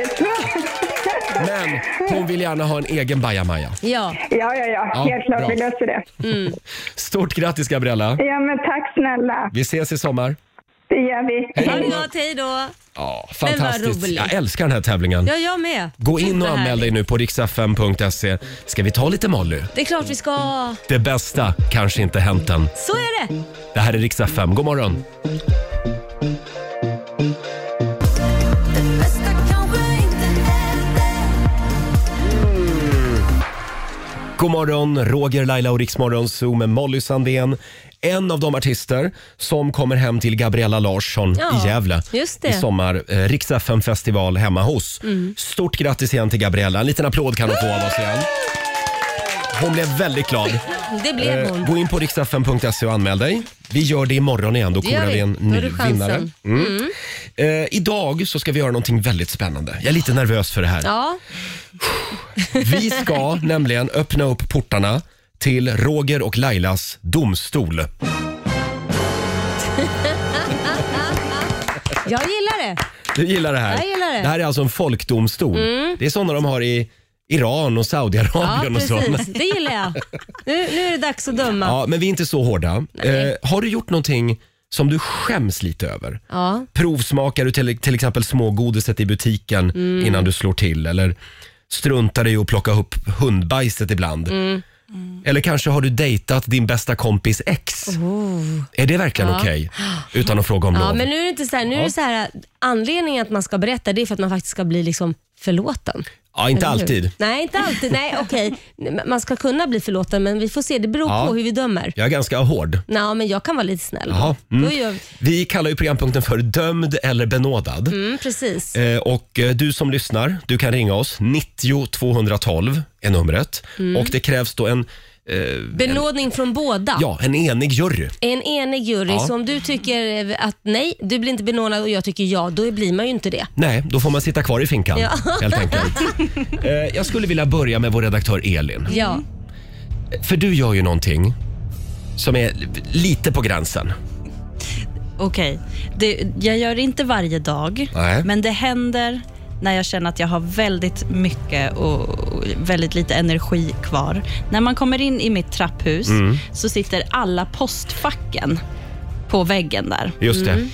Men hon vill gärna ha en egen bajamaja. Ja, Ja, ja, ja. Ja, Helt klart, bra. vi löser det. Stort grattis Gabriella. Ja, men tack snälla. Vi ses i sommar. Det gör vi. ha det gott, hej då. Ja, vad fantastiskt. roligt. Jag älskar den här tävlingen. Ja, jag med. Gå in och Superhärligt. anmäl dig nu på riksfm.se. Ska vi ta lite Molly? Det är klart vi ska. Det bästa kanske inte hänt än. Så är det. Det här är Riks-FM. God morgon! God morgon, Roger, Laila och Riksmorgon Zoo med Molly Sandén. En av de artister som kommer hem till Gabriella Larsson Ja, i Gävle just det. Mm. i sommar. Eh, Rix FM festival hemma hos. Stort grattis igen till Gabriella. En liten applåd kan hon få av oss igen. Hon blev väldigt glad. Det blev Eh, hon. Gå in på riksfm.se E och anmäl dig. Vi gör det imorgon igen. Då Det gör korar vi vi. en Då har ny du chansen. vinnare. Mm. Eh, idag så ska vi göra någonting väldigt spännande. Jag är lite nervös för det här. Ja, Vi ska nämligen öppna upp portarna till Roger och Lailas domstol. jag gillar det. Du gillar det här? Jag gillar det. Mm. här är alltså en folkdomstol. Det är sådana de har i Iran och Ja, Saudiarabien och så. precis. Det gillar jag. Nu, nu är det dags att döma. Ja, men vi är inte så hårda. Eh, har du gjort någonting som du skäms lite över? Ja. Provsmakar du till, till exempel smågodiset i butiken Mm. innan du slår till? Eller struntar du i att plocka upp hundbajset ibland? Mm. Mm. Eller kanske har du dejtat din bästa kompis ex? Är det verkligen okej? Utan att fråga om Oh. Ja, lov. men nu är det inte så här, nu är Ja. det så här anledningen att man ska berätta det är för att man faktiskt ska bli liksom förlåten. Ja, inte Eller hur? alltid. Nej, inte alltid. Nej, [laughs] okej. Man ska kunna bli förlåten, men vi får se. Det beror Ja. på hur vi dömer. Jag är ganska hård. Nej, men jag kan vara lite snäll. Jaha. Då Mm. är jag, Vi kallar ju programpunkten för dömd eller benådad. mm, precis. Eh, Och eh, du som lyssnar, du kan ringa oss. 90 212 är numret. Mm. Och det krävs då en, Benådning från båda. eh. ja, en enig jury. En enig jury, Ja. så om du tycker eh, att nej, du blir inte benådad och jag tycker ja, då blir man ju inte det. Nej, då får man sitta kvar i finkan Ja. helt [laughs] enkelt. Eh, Jag skulle vilja börja med vår redaktör Elin. Ja. För du gör ju någonting som är lite på gränsen. Okej, det- jag gör det inte varje dag, Nej. men det händer när jag känner att jag har väldigt mycket och och väldigt lite energi kvar. När man kommer in i mitt trapphus Mm. så sitter alla postfacken på väggen där. Just det. Mm.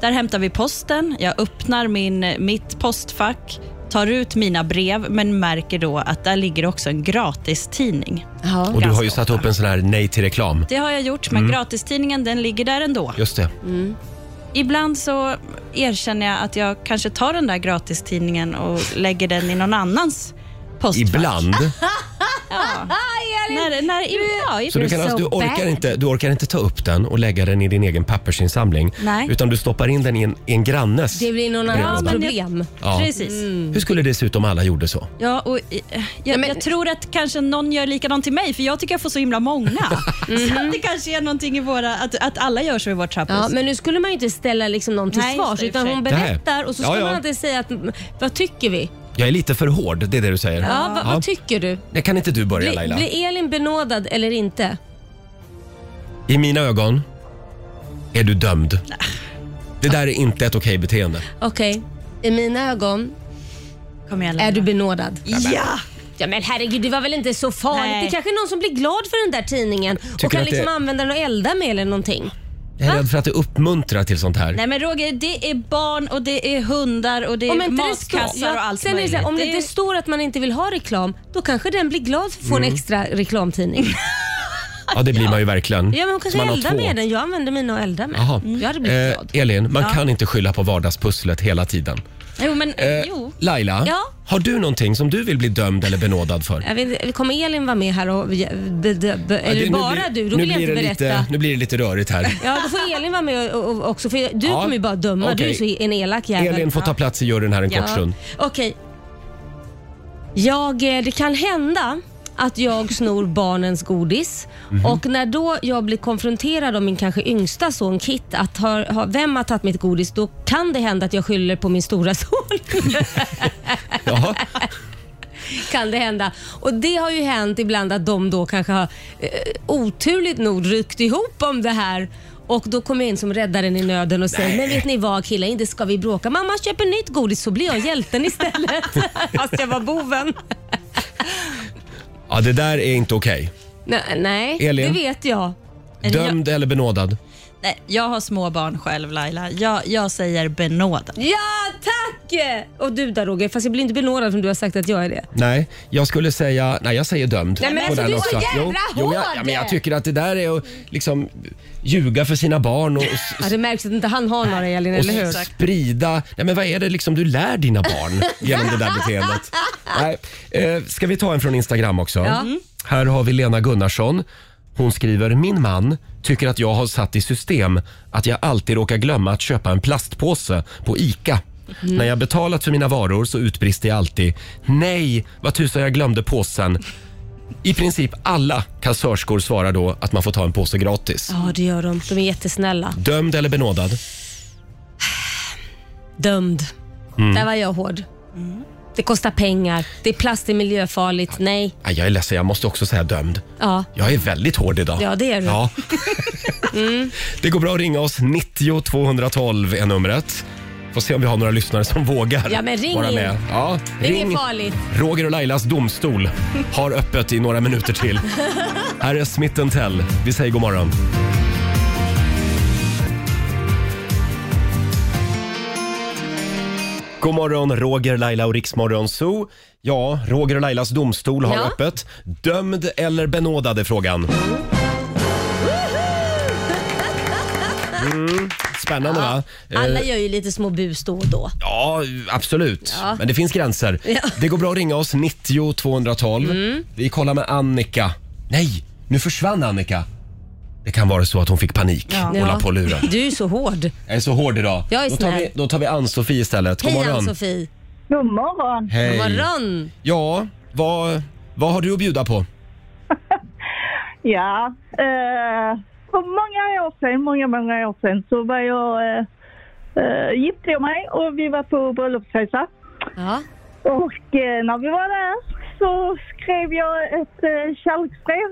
Där hämtar vi posten. Jag öppnar min, mitt postfack, tar ut mina brev, men märker då att där ligger också en gratistidning. Och du har ju Ganska satt upp en sån här nej till reklam. Det har jag gjort, Mm. men gratistidningen den ligger där ändå. Just det. Mm. Ibland så erkänner jag att jag kanske tar den där [laughs] gratistidningen och lägger den i någon annans postfack. Ibland. Ah, När, när, ja, i- Så du, kan alltså, du, orkar inte, du orkar inte ta upp den och lägga den i din egen pappersinsamling. Nej. Utan du stoppar in den i en, i en grannes Det blir någon brevlåda. annans problem. Ja. Mm. Hur skulle det se ut om alla gjorde så? Ja, och, eh, jag, jag tror att kanske någon gör likadant till mig, för jag tycker jag får så himla många. Så att det kanske är någonting i våra, att, att alla gör så i vårt trapphus. Ja, men nu skulle man ju inte ställa liksom någon till Nej, just svars det, i och utan för hon sig. berättar och så Ja, ska ja. man inte säga att "Mm, vad tycker vi? Jag är lite för hård, det är det du säger. Ja, vad, vad tycker du? det kan inte du börja Bli, Laila? blir Elin benådad eller inte? I mina ögon är du dömd. Det där är inte ett okej beteende. Okej, i mina ögon är du benådad. Ja! Ja men herregud det var väl inte så farligt. Det är kanske är någon som blir glad för den där tidningen Tycker och kan att det- liksom använda den och elda med eller någonting. Jag är rädd för att det uppmuntrar till sånt här. Nej men Roger, det är barn och det är hundar och det är matkassar och allt sen är det möjligt. så här, om det Det är- inte står att man inte vill ha reklam, då kanske den blir glad för att få Mm. en extra [laughs] reklamtidning. Ja, det blir man ju verkligen. Ja, men hon kanske Så man har eldar två. med den. Jag använder mina och eldar med. Jaha. Jag hade blivit Eh, glad. Elin, man Ja. kan inte skylla på vardagspusslet hela tiden. Jo, men Eh, jo. Laila, Ja. Eh, har du någonting som du vill bli dömd eller benådad för? Jag vet, inte, kommer Elin vara med här och... Be, be, be, Ja, eller det- nu bara blir- du? Då nu vill jag inte blir det berätta. Lite, nu blir det lite rörigt här. Ja, då får Elin vara med och, och, också. För jag- du Ja. kommer ju bara döma. Du är Okej. så en elak jävel. Elin får ta plats i juryn här en kort [laughs] stund. Okej. Jag, eh, det kan hända att jag snor barnens godis Mhm. och när då jag blir konfronterad av min kanske yngsta son Kit att ha, ha, vem har tagit mitt godis då kan det hända att jag skyller på min stora son. kan det hända. Och det har ju hänt ibland att de då kanske har eh, oturligt nog ryckt ihop om det här och då kommer jag in som räddaren i nöden och säger, Nej. men vet ni vad killar, inte ska vi bråka. Mamma köper nytt godis så blir jag hjälten istället. [laughs] Fast jag var boven. Ja, det där är inte okej. Nej, nej Elin? det vet jag. Dömd eller benådad? Nej, jag har små barn själv Laila. Jag, jag säger benådad. Ja, tack! Och du där Roger, fast jag blir inte benådad om du har sagt att jag är det. Nej, jag skulle säga... Nej, jag säger dömd. Nej, men på alltså, den du är så också. jävla jo, jo, jag, hård! ja, men jag tycker att det där är att liksom ljuga för sina barn och, och Ja, det märks att inte han har några Elin, eller hur? och sprida... Nej, men vad är det liksom du lär dina [laughs] barn genom det där beteendet? Nej. Eh, ska vi ta en från Instagram också? Ja. Mm. Här har vi Lena Gunnarsson. Hon skriver, min man tycker att jag har satt i system att jag alltid råkar glömma att köpa en plastpåse på ICA. Mm. När jag betalat för mina varor så utbrister jag alltid, nej, vad tusan jag glömde påsen. I princip alla kassörskor svarar då att man får ta en påse gratis. Ja, det gör de. De är jättesnälla. Dömd eller benådad? Dömd. Mm. Där var jag hård. Det kostar pengar. Det är plast, det är miljöfarligt. Nej. Nej, Jag är ledsen, jag måste också säga dömd. Ja. Jag är väldigt hård idag. Ja, det är du. [laughs] Ja, Mm. det går bra att ringa oss. 90 212 är numret. Får se om vi har några lyssnare som vågar Ja, men ring vara in. med. Ja, Det är inget farligt. Roger och Lailas domstol har öppet i några minuter till. Här är Smith Tell. Vi säger god morgon. God morgon, Roger, Laila och Riksmorgon Zoo. Ja, Roger och Lailas domstol har Ja. öppet. Dömd eller benådad är frågan. Mm, spännande va? Alla Eh, gör ju lite små bus då och då. Ja, absolut. Ja. Men det finns gränser. Ja. Mm. Det går bra att ringa oss, 90 212. Vi kollar med Annika. Nej, nu försvann Annika. Det kan vara så att hon fick panik och la på luren. Du är ju så hård. Jag är så hård idag. Jag är då, tar snäll. vi, då tar vi Ann-Sofie istället. God Hej morgon. Ann-Sofie. God morgon. Hej. God morgon. Ja, vad, vad har du att bjuda på? Ja, eh, för många år sedan, många, många år sedan så var jag, eh, eh, gifte jag mig och vi var på bröllopsresa. Ja. Och eh, när vi var där så skrev jag ett eh, kärleksbrev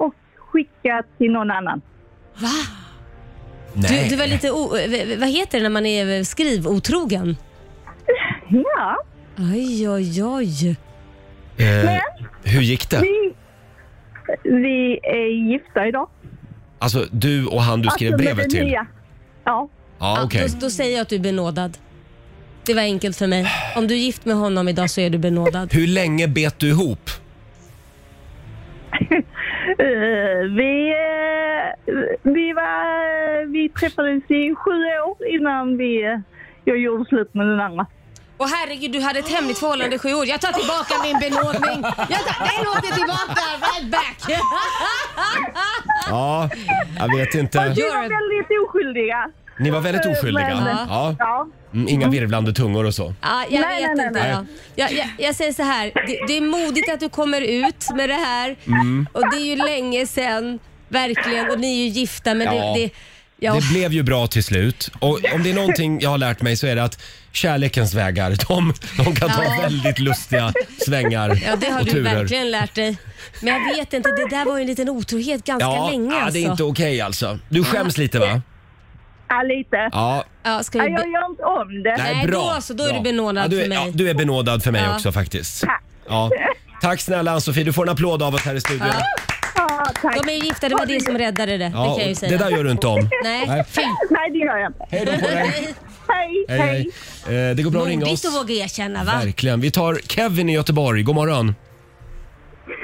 och skickade till någon annan. Va? Du, du var lite o- v- vad heter det när man är skrivotrogen? Ja. Oj, oj, oj. Eh, hur gick det? Vi, vi är gifta idag. Alltså du och han du skrev Alltså, med brevet det till? nya. Ja. Ja, okej. Då, då säger jag att du är benådad. Det var enkelt för mig. Om du är gift med honom idag så är du benådad. Hur länge bet du ihop? Eh, vi, eh, vi, var, vi träffades i sju år innan vi, eh, jag gjorde slut med den andra. Och herregud, du hade ett hemligt förhållande i sju år. Jag tar tillbaka min benådning. Jag tar, den åker tillbaka, right back. Ja, jag vet inte. Vi var väldigt oskyldiga. Ni var väldigt Eh, oskyldiga. men- Ja. ja. Mm, Inga virvlande tungor och så. Ja, jag Nej, vet nej, nej, inte. nej. ja. Jag, jag, jag säger så här, det, det är modigt att du kommer ut med det här Mm. och det är ju länge sedan, verkligen, och ni är ju gifta men Ja. det... det ja. Det blev ju bra till slut. Och om det är någonting jag har lärt mig så är det att kärlekens vägar, de, de kan ta Ja. väldigt lustiga svängar Ja, det har och du turer. verkligen lärt dig. Men jag vet inte, det där var ju en liten otrohet ganska ja, länge ja, alltså. det är inte okej alltså. Du skäms lite va? Ja, lite. Ja. Ja, ska vi... Jag gör inte om det. Nej, bra. då så, då är bra. du benådad ja, du är, för mig. Ja, du är benådad för mig Ja. också faktiskt. Tack. Ja. Tack snälla Ann-Sofie, du får en applåd av oss här i studion. Ja. Ja, tack. De är ju gifta, det var det som räddade det. det kan jag ju och säga. det där gör du inte om. Nej, fy. Nej, det gör jag inte. Hej då på dig. Hej, Hej, hej. Eh, Det går bra att ringa Modigt oss. att våga erkänna va? Verkligen. Vi tar Kevin i Göteborg. God morgon. Hej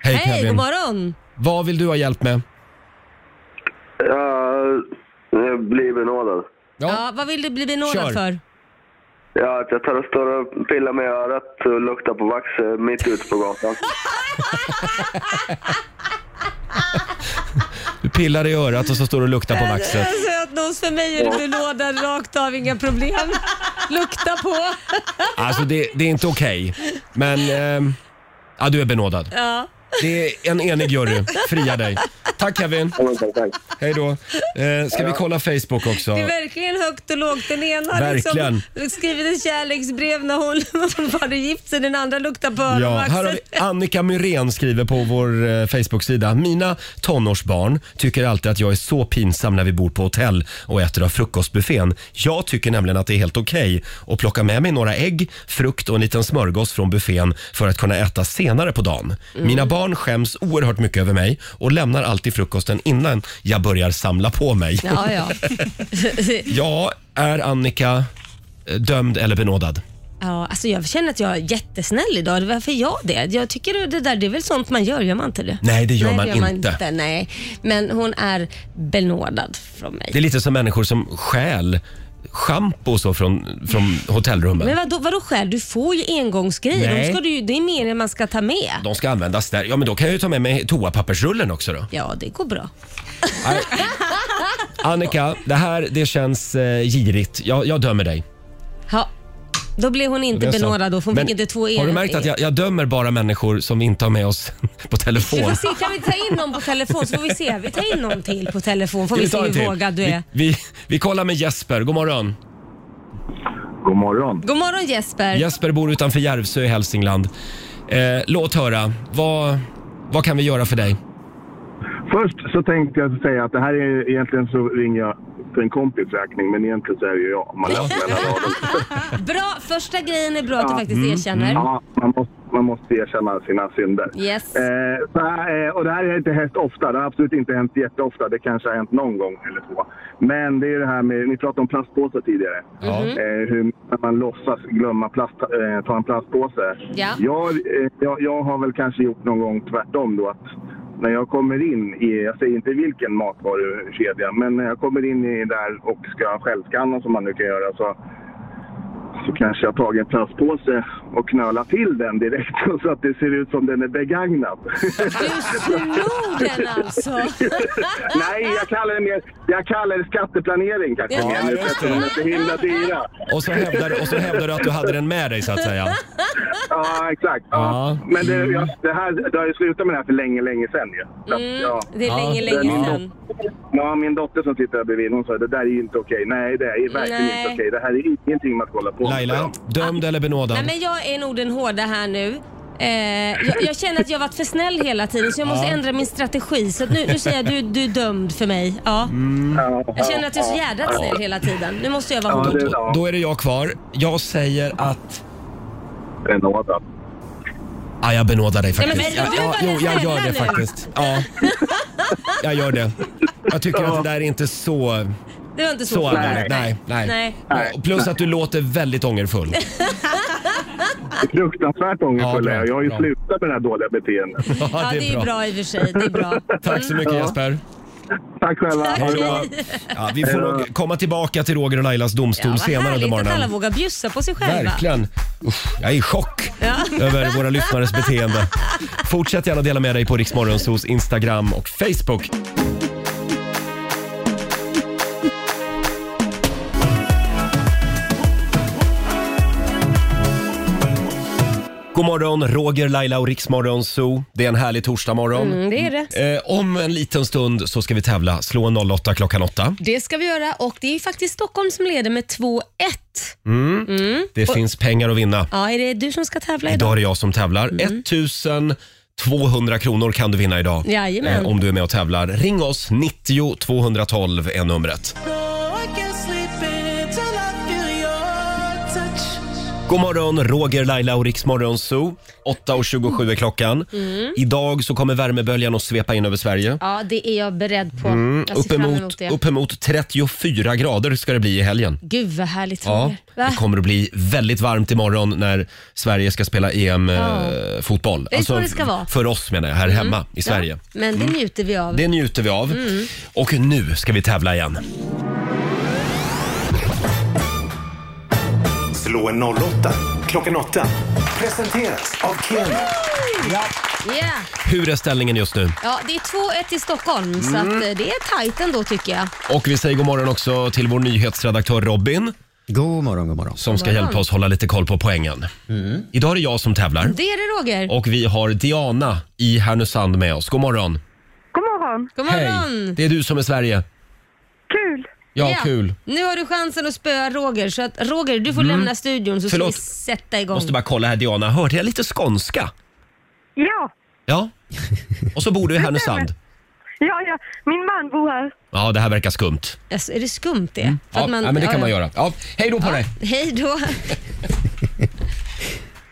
Hej, [laughs] god Kevin. morgon. Vad vill du ha hjälp med? Jag, jag blir benådad. Ja. vad vill du bli benådad Kör. för? Ja, att jag tar och står och pillar med örat och luktar på vax eh, mitt ute på gatan. Du pillar i örat och så står du och luktar på vaxet. Söt nos, för mig är du benådad rakt av, inga problem. Lukta på. Alltså det, det är inte okej. Men... ehm, ja, du är benådad. Ja. Det är en enig jury. Fria dig. Tack Kevin. Hej då. Eh, ska vi kolla Facebook också? Det är verkligen högt och lågt. Den ena har liksom Verkligen. skrivit ett kärleksbrev när hon [laughs] hon var gift sig, den andra luktar på Ja, här har öronvaxet. vi Annika Myrén skriver på vår eh, Facebook-sida. Mina tonårsbarn tycker alltid att jag är så pinsam när vi bor på hotell och äter av frukostbuffén. Jag tycker nämligen att det är helt okej att plocka med mig några ägg, frukt och en liten smörgås från buffén för att kunna äta senare på dagen. Mm. Mina barn skäms oerhört mycket över mig och lämnar alltid frukosten innan jag börjar samla på mig. Ja, [laughs] ja. ja, är Annika eh, dömd eller benådad? ja, alltså jag känner att jag är jättesnäll idag. Varför är jag det? Jag tycker det där, det är väl sånt man gör, gör man inte det? Nej, det gör man inte. Nej, men hon är benådad från mig. Det är lite som människor som stjäl schampo och så från, från hotellrummen. Men vadå, vadå skäl? Du får ju engångsgrejer. Nej. De ska du, ju- det är mer än man ska ta med. De ska användas där. Ja, men då kan jag ju ta med mig toapappersrullen också då. Ja, det går bra. Nej. Annika, det här det känns eh, girigt. Jag, jag dömer dig. Ja, då blev hon Det inte är så. benådad då, för hon Men fick inte två E. Har du eran- märkt att jag, jag dömer bara människor som vi inte har med oss [laughs] på Vi telefon? får se, kan vi ta in någon på telefon så får vi se. Vi tar in någon till på telefon får Ska vi se ta en hur till? vågad du Vi- är. Vi, vi, kollar med Jesper. God morgon. God morgon. God morgon Jesper. Jesper bor utanför Järvsö i Hälsingland. Eh, låt höra. Vad, vad kan vi göra för dig? Först så tänkte jag säga att det här är egentligen så ringer jag för en kompis räkning, men egentligen så är det ju jag. Man läser mellan raderna. Bra, första grejen är bra att du faktiskt Mm. erkänner. Ja, man måste, man måste erkänna sina synder. Yes. Eh, så här, eh, och det här är inte hänt ofta. Det har absolut inte hänt jätteofta. Det kanske har hänt någon gång eller två. Men det är det här med, ni pratade om plastpåsar tidigare. Ja. Mm-hmm. Eh, hur man låtsas glömma plast, eh, ta en plastpåse. Ja. Jag, eh, jag, jag har väl kanske gjort någon gång tvärtom då att när jag kommer in i, jag säger inte vilken matvarukedja, men när jag kommer in i där och ska självskanna som man nu kan göra så så kanske jag har tagit en plastpåse och knölat till den direkt [laughs] så att det ser ut som den är begagnad. [laughs] Du snor den alltså! Nej, jag kallar det, mer, jag kallar det skatteplanering kanske. Ja, Men just eftersom de är så himla dyra. Och så, hävdar, och så hävdar du att du hade den med dig så att säga. Ja, exakt. Ja. Men det, Mm. jag, det här, det har ju slutat med det här för länge, länge sedan ju. Så att, Mm, ja. det är Ja. länge, länge Min sedan. dotter- Ja, min dotter som sitter här bredvid, hon sa det där är ju inte okej. Nej, det är verkligen Nej. inte okej. Det här är ingenting man ska hålla på med. Laila, dömd eller benådad? Nej men jag är nog den hårda här nu. Eh, jag, jag känner att jag har varit för snäll hela tiden så jag måste Ja. ändra min strategi. Så att nu, nu säger jag du, du är dömd för mig. Ja. Jag känner att jag är så jädra snäll hela tiden. Nu måste jag vara hård. Mm. då, då är det jag kvar. Jag säger att... Benådad. Ja, jag benådar dig Nej, men faktiskt. men du ja, ja, var jo, den jag gör snälla det nu. faktiskt. Ja, jag gör det. Jag tycker att det där är inte så... Det var inte så, Så farligt. allvarligt. Nej, nej. Nej. Och Plus att du låter väldigt ångerfull. [laughs] Fruktansvärt ångerfull Ja, är bra, jag. Jag har ju bra. slutat med det här dåliga beteendet. Ja, det är bra i och för sig. Det är bra. Tack så mycket Ja. Jesper. Tack själva. Ha det bra. Ja, vi får nog komma tillbaka till Roger och Lailas domstol vad senare under härligt att alla morgonen. vågar bjussa på sig själva. Verkligen. Usch, jag är i chock Ja. över våra lyssnares beteende. Fortsätt gärna dela med dig på Riksmorgonsos Instagram och Facebook. God morgon, Roger, Laila och Riksmorgon Zoo. Det är en härlig torsdagmorgon. Mm, det är det. Eh, om en liten stund så ska vi tävla. Slå en 08 klockan 8. Det ska vi göra och det är faktiskt Stockholm som leder med 2-1. Mm. Mm. Det Och- finns pengar att vinna. Ja, är det du som ska tävla Idag är idag? det jag som tävlar. Mm. 1200 kronor kan du vinna idag. Eh, Jajamän. om du är med och tävlar. Ring oss, 90 212 är numret. God morgon, Roger, Laila och Riksmorgon Zoo. 8.27 är klockan. Mm. Idag så kommer värmeböljan att svepa in över Sverige. Ja, det är jag beredd på. Mm, Jag ser fram emot uppemot, det. uppemot 34 grader ska det bli i helgen. Gud vad härligt Ja, Roger. Va? det kommer att bli väldigt varmt imorgon när Sverige ska spela Ja. EM-fotboll. Det är så det ska vara. Alltså, För oss menar jag, här Mm. hemma i Sverige. Ja, men det Mm. njuter vi av. Det njuter vi av. Mm. Och nu ska vi tävla igen. Slå en 08 klockan 8. Presenteras av Keno. Ja. Yeah. Hur är ställningen just nu? Ja, det är 2-1 till Stockholm, så Mm. att eh, det är tajt ändå tycker jag. Och vi säger god morgon också till vår nyhetsredaktör Robin. God morgon, god morgon. Mm. Som ska God morgon. hjälpa oss hålla lite koll på poängen. Idag är det jag som tävlar. Det är det Roger. Och vi har Diana i Härnösand med oss. God morgon. God morgon. God morgon. Hej, det är du som är Sverige. Kul. Ja, kul. Nu har du chansen att spöa Roger, så att Roger du får Mm. lämna studion så Förlåt. ska vi sätta igång. Måste bara kolla här Diana, hörde jag lite skånska? Ja, Ja. Och så bor du i Härnösand. ja, ja. Min man bor här. Ja, det här verkar skumt. Alltså, är det skumt det? För Mm. Ja, att man- ja men det ja, kan man ja. göra. Ja, hej då på dig! [laughs] Hej då.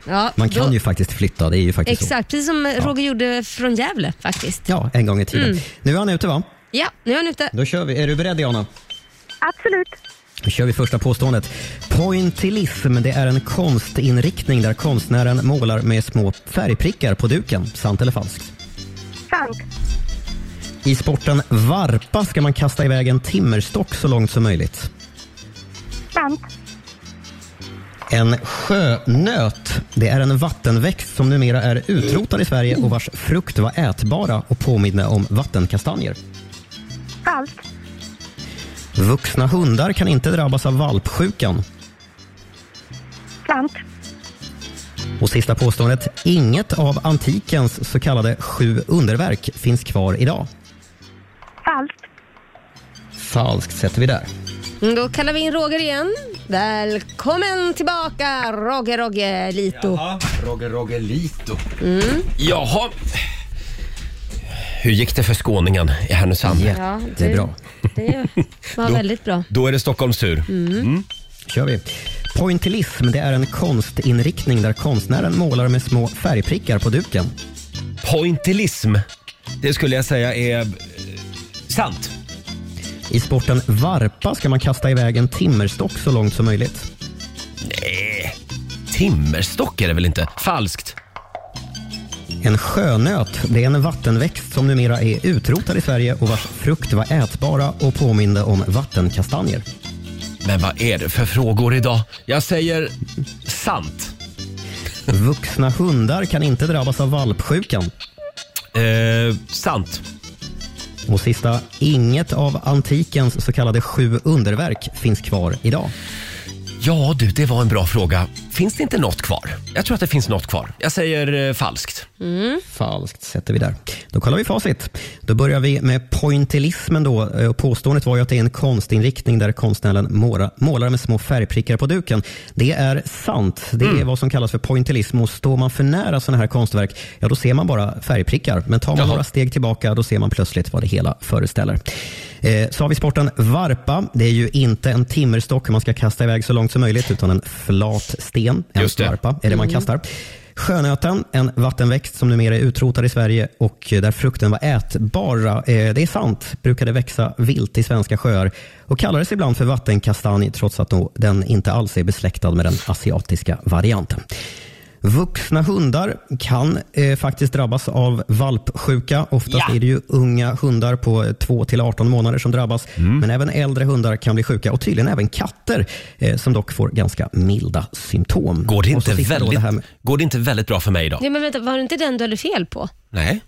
ja, Man kan då- ju faktiskt flytta, det är ju faktiskt Exakt, precis som eh, Ja. Roger gjorde från Gävle faktiskt. så. Ja, en gång i tiden. Mm. Nu är han ute va? Ja, nu är han ute. Då kör vi. Är du beredd Diana? Absolut. Då kör vi första påståendet. Pointillism, det är en konstinriktning där konstnären målar med små färgprickar på duken. Sant eller falskt? Sant. I sporten varpa ska man kasta iväg en timmerstock så långt som möjligt. Sant. En sjönöt, det är en vattenväxt som numera är utrotad i Sverige och vars frukt var ätbara och påminner om vattenkastanjer. Falskt. Vuxna hundar kan inte drabbas av valpsjukan. Sant. Och sista påståendet. Inget av antikens så kallade sju underverk finns kvar idag. Falskt. Falskt sätter vi där. Mm, Då kallar vi in Roger igen. Välkommen tillbaka Roger Roger Lito. Roger Rogelito. Mm. Jaha. Hur gick det för skåningen i Härnösand? Ja, det- Jättebra. Det var Då- väldigt bra. Då är det Stockholms tur. Mm. kör vi. Pointillism det är en konstinriktning där konstnären målar med små färgprickar på duken. Pointillism, det skulle jag säga är eh, sant. I sporten varpa ska man kasta iväg en timmerstock så långt som möjligt. Nej, timmerstock är det väl inte? Falskt. En sjönöt det är en vattenväxt som numera är utrotad i Sverige och vars frukt var ätbara och påminde om vattenkastanjer. Men vad är det för frågor idag? Jag säger sant. Vuxna hundar kan inte drabbas av valpsjukan. Eh, sant. Och sista, inget av antikens så kallade sju underverk finns kvar idag. Ja du, det var en bra fråga. Finns det inte något kvar? Jag tror att det finns något kvar. Jag säger eh, falskt. Falskt sätter vi där. Då kollar vi facit. Då börjar vi med pointillismen då. Eh, och Påståendet var ju att det är en konstinriktning där konstnären måla- målar med små färgprickar på duken. Det är sant. Det är vad som kallas för pointillism och står man för nära sådana här konstverk, ja då ser man bara färgprickar. Men tar man några steg tillbaka, då ser man plötsligt vad det hela föreställer. Eh, Så har vi sporten varpa. Det är ju inte en timmerstock man ska kasta iväg så långt som möjligt, utan en flat sten. En Just det. varpa är det man Mm. kastar. Sjönöten, en vattenväxt som numera är utrotad i Sverige och där frukten var ätbara. Eh, Det är sant, brukade växa vilt i svenska sjöar och kallades ibland för vattenkastanj trots att då den inte alls är besläktad med den asiatiska varianten. Vuxna hundar kan eh, faktiskt drabbas av valpsjuka. Oftast Ja. är det ju unga hundar på 2-18 månader som drabbas. Men även äldre hundar kan bli sjuka och tydligen även katter eh, som dock får ganska milda symptom. Går det inte väldigt- Går det inte väldigt bra för mig idag? Nej men vänta, var det inte den du hade fel på? [laughs] Nej.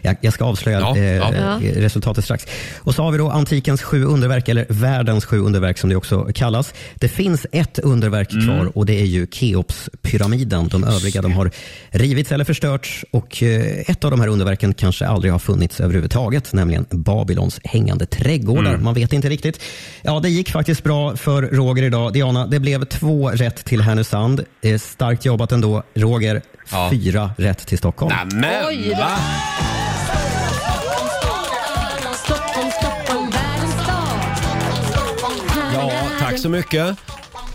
jag, jag ska avslöja Ja, eh, ja. eh, resultatet strax. Och så har vi då antikens sju underverk, eller världens sju underverk som det också kallas. Det finns ett underverk Mm. kvar och det är ju Keopspyramiden. De övriga de har rivits eller förstörts och eh, ett av de här underverken kanske aldrig har funnits överhuvudtaget, nämligen Babylons hängande trädgårdar. Mm. Man vet inte riktigt. Ja, det gick faktiskt bra för Roger idag. Diana, det blev två rätt till Härnösand. Eh, starkt jobbat ändå. Roger, Ja. fyra rätt till Stockholm. Men, Oj då. va? Stockholm, Stockholm, världens stad. Ja, tack så mycket.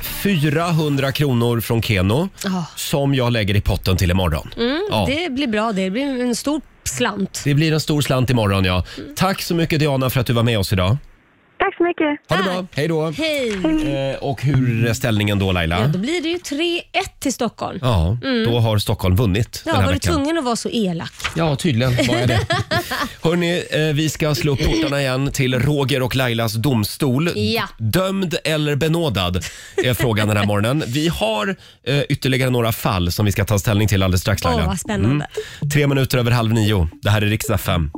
400 kronor från Keno Ja. som jag lägger i potten till imorgon. Mm, Ja. Det blir bra det. Det blir en stor slant. Det blir en stor slant imorgon ja. Tack så mycket Diana för att du var med oss idag. Tack så mycket. Ha det bra, hej då. Hej. Eh, och hur är ställningen då Ja, Laila? då blir det ju 3-1 till Stockholm. Ja, Mm. då har Stockholm vunnit Ja, den här var du veckan. tvungen att vara så elak? Ja, tydligen var jag det. Hörrni, eh, vi ska slå upp portarna igen till Roger och Lailas domstol. Ja. Dömd eller benådad är frågan den här morgonen. Vi har eh, ytterligare några fall som vi ska ta ställning till alldeles strax Laila. Åh, vad spännande. Mm. Tre minuter över halv nio. Det här är riksdag 5.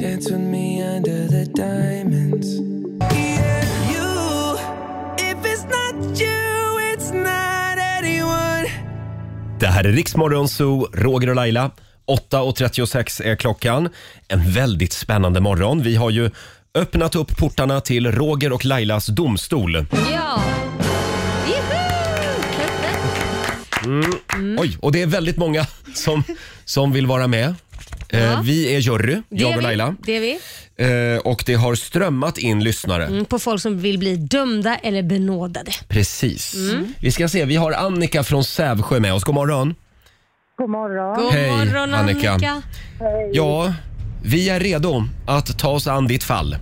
Dance with me under the diamonds. Yeah, you. If it's not you, it's not anyone. Det här är Riksmorgon Zoo, Roger och Laila. 8.36 är klockan. En väldigt spännande morgon. Vi har ju öppnat upp portarna till Roger och Lailas domstol. Ja. Mm. Oj, och det är väldigt många som, som vill vara med. Eh, Ja. Vi är jury, Det är jag och vi. Laila. Det är vi. Eh, och det har strömmat in lyssnare. Mm, på folk som vill bli dömda eller benådade. Precis. Mm. Vi ska se, vi har Annika från Sävsjö med oss. God morgon. God morgon. God Hej, morgon, Annika. Annika. Hej. Ja, vi är redo att ta oss an ditt fall.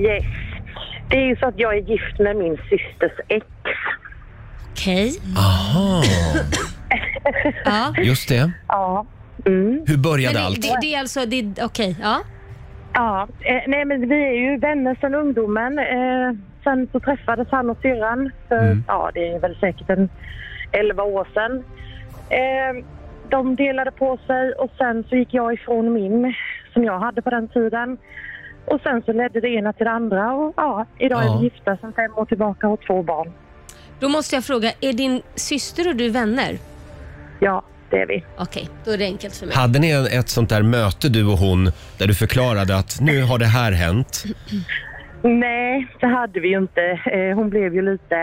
Yes. Det är ju så att jag är gift med min systers ex. Okej. Aha, Ja. just det. Ja. Mm. Hur började Men allt? det, det, det är alltså, det är- okej, ja. Ja, eh, nej men vi är ju vänner sedan ungdomen. Eh, sen så träffades han och syrran för, ja det är väl säkert en 11 år sedan. Eh, de delade på sig och sen så gick jag ifrån min som jag hade på den tiden. Och sen så ledde det ena till det andra och ja, idag är Ja. vi gifta sedan fem år tillbaka och har två barn. Då måste jag fråga, är din syster och du vänner? Ja, det är vi. Okej, då är det enkelt för mig. Hade ni en- ett sånt där möte du och hon där du förklarade att nu har det här hänt? Nej, det hade vi ju inte. Eh, hon blev ju lite...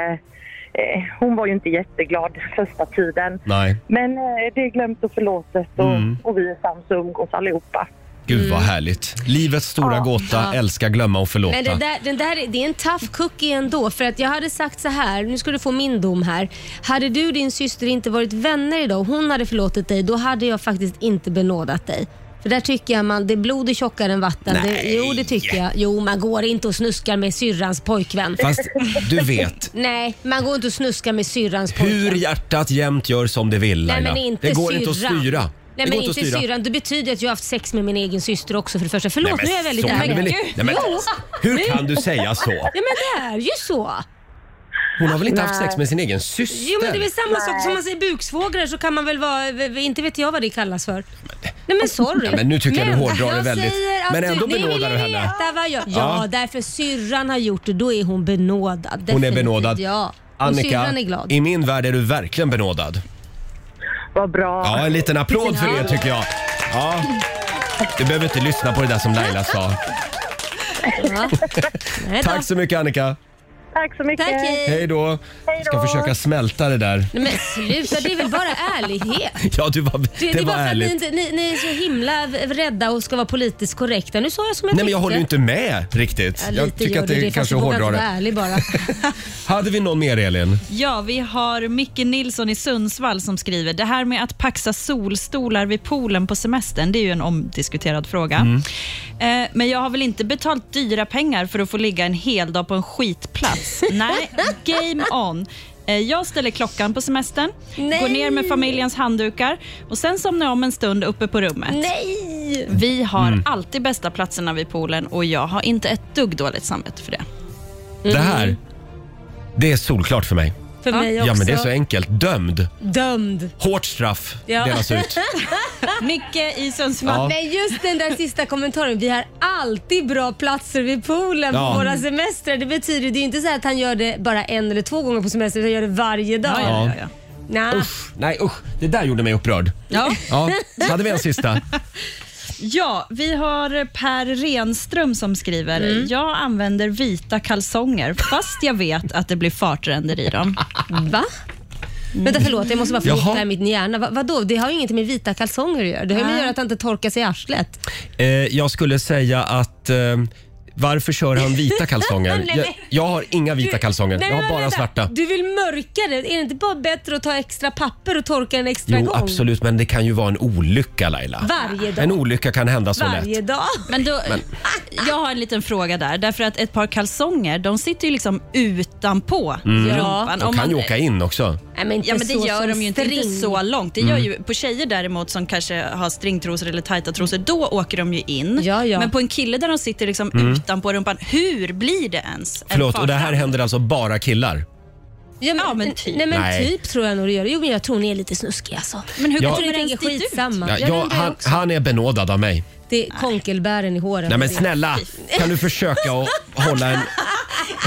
Eh, hon var ju inte jätteglad första tiden. Nej. Men eh, det är glömt och förlåtet och, Mm. och vi är sams och umgås allihopa. Gud vad härligt. Livets stora gåta, Mm. Ja. älska, glömma och förlåta. Men det där, den där, det är en tough cookie ändå. För att jag hade sagt så här, nu ska du få min dom här. Hhade du och din syster inte varit vänner idag och hon hade förlåtit dig, då hade jag faktiskt inte benådat dig. För där tycker jag man, det är blod är tjockare än vatten. Det, jo, det tycker jag. Jo, man går inte och snuskar med syrrans pojkvän. Fast du vet, Nej, man går inte och snuskar med syrrans pojkvän. hur hjärtat jämt gör som det vill Nej, Laila. men inte Det går syrran. inte att styra. Nej det men går inte att styra. syrran. Det betyder att jag har haft sex med min egen syster också för det första. Förlåt, Nej, men nu är jag väldigt så kan du väl inte- Nej, men Jo. Nu- Hur kan du säga så? Ja men det är ju så. Hon har väl inte haft Nej. sex med sin egen syster? Jo men det är väl samma sak som man säger buksvågrar så kan man väl vara, v- v- inte vet jag vad det kallas för. Nej men sorry. Ja, men nu tycker jag du hårdrar det väldigt. säger att Men ändå ni benådar vill du henne. Veta vad jag, ja, Ja. därför syrran har gjort det, då är hon benådad. Hon är Definitivt, benådad. Ja. Och Annika, syrran är glad. i min värld är du verkligen benådad. Vad bra. Ja, en liten applåd för det tycker jag. Ja. Du behöver inte lyssna på det där som Laila sa. Ja. Nej då. Tack så mycket Annika. Tack så mycket. Tack, hej. Hej då. Hej Ska då. försöka smälta det där. Nej men sluta, det är väl bara ärlighet. Ja, du var, Det, det, det är var bara för att ni, ärligt. inte, ni, ni är så himla v- rädda och ska vara politiskt korrekta. Nu sa jag som Nej, jag men tyckte. jag håller ju inte med riktigt. Ja, Jag lite tycker gör att du det, fast kanske du vågar inte hårdrar vara det. ärlig [laughs] bara. Hade vi någon mer Elin? Ja, vi har Micke Nilsson i Sundsvall som skriver, det här med att paxa solstolar vid poolen på semestern, det är ju en omdiskuterad fråga. Eh, men jag har väl inte betalt dyra pengar för att få ligga en hel dag på en skitplats? Nej, game on. Eh, Eh, Jag ställer klockan på semestern, går ner med familjens handdukar och sen somnar jag om en stund uppe på rummet. Nej! Vi har Mm. alltid bästa platserna vid poolen och jag har inte ett dugg dåligt samvete för det. Det Mm. här, det är solklart för mig. För mig Ja, men det är också. så enkelt. Dömd. Dömd. Hårt straff delas [laughs] ut. Micke i Sundsvall. Ja. Men just den där sista kommentaren. Vi har alltid bra platser vid poolen Ja. på våra semestrar. Det betyder det är inte så här att han gör det bara en eller två gånger på semester utan gör det varje dag. Ja, ja, ja, Nej. Usch, nej usch. Det där gjorde mig upprörd. Ja. Ja, så hade vi en sista. Ja, vi har Per Renström som skriver. Jag använder vita kalsonger fast jag vet att det blir fartränder i dem. Va? Vänta Mm. förlåt, jag måste bara få Jaha. ihop det här i mitt hjärna. Va, vadå? Det har ju ingenting med vita kalsonger att göra. Det har ju med att Nej. göra att han inte torkar sig i arslet. Eh, jag skulle säga att eh, varför kör han vita kalsonger? [laughs] Nej, men- Jag, jag har inga vita kalsonger. Nej, Jag har men bara vänta. svarta. Du vill mörka det. Är det inte bara bättre att ta extra papper och torka en extra Jo, gång? absolut, men det kan ju vara en olycka Laila. Varje dag. En olycka kan hända så lätt. dag. [laughs] Men då, Men- Jag har en liten fråga där. Därför att ett par kalsonger, de sitter ju liksom utanpå Mm. rumpan. De Om kan man- ju åka in också. Nej, men inte ja, men det så gör som de ju inte string. riktigt så långt. Det gör Mm. ju, på tjejer däremot som kanske har stringtrosor eller tajta trosor, då åker de ju in. ja. Men på en kille där de sitter liksom Mm. utanpå rumpan, hur blir det ens? en Förlåt, och det här fartkamp? händer alltså bara killar? Ja men, typ. Nej men Nej. typ tror jag nog det gör. Jo men jag tror ni är lite snuskiga alltså. Men hur jag kommer tror det det är skitsamma. Ja, Jag jag, undrar han, också. han är benådad av mig. Det är konkelbären i håret. Nej men snälla, kan du försöka att hålla en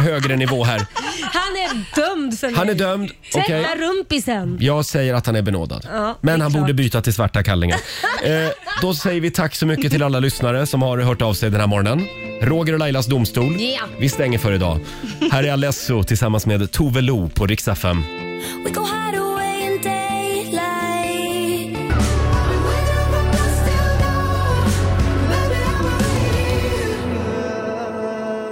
högre nivå här? Han är dömd för mig. Han är dömd, Tvätta okej. rumpisen. Jag säger att han är benådad. Ja, Men det är han klart. borde byta till svarta [laughs] kallingar. Eh, då säger vi tack så mycket till alla lyssnare som har hört av sig den här morgonen. Roger och Lailas domstol. Ja. Vi stänger för idag. Här är Alesso tillsammans med Tove Lo på riksdag 5. We go oh, hide away in daylight.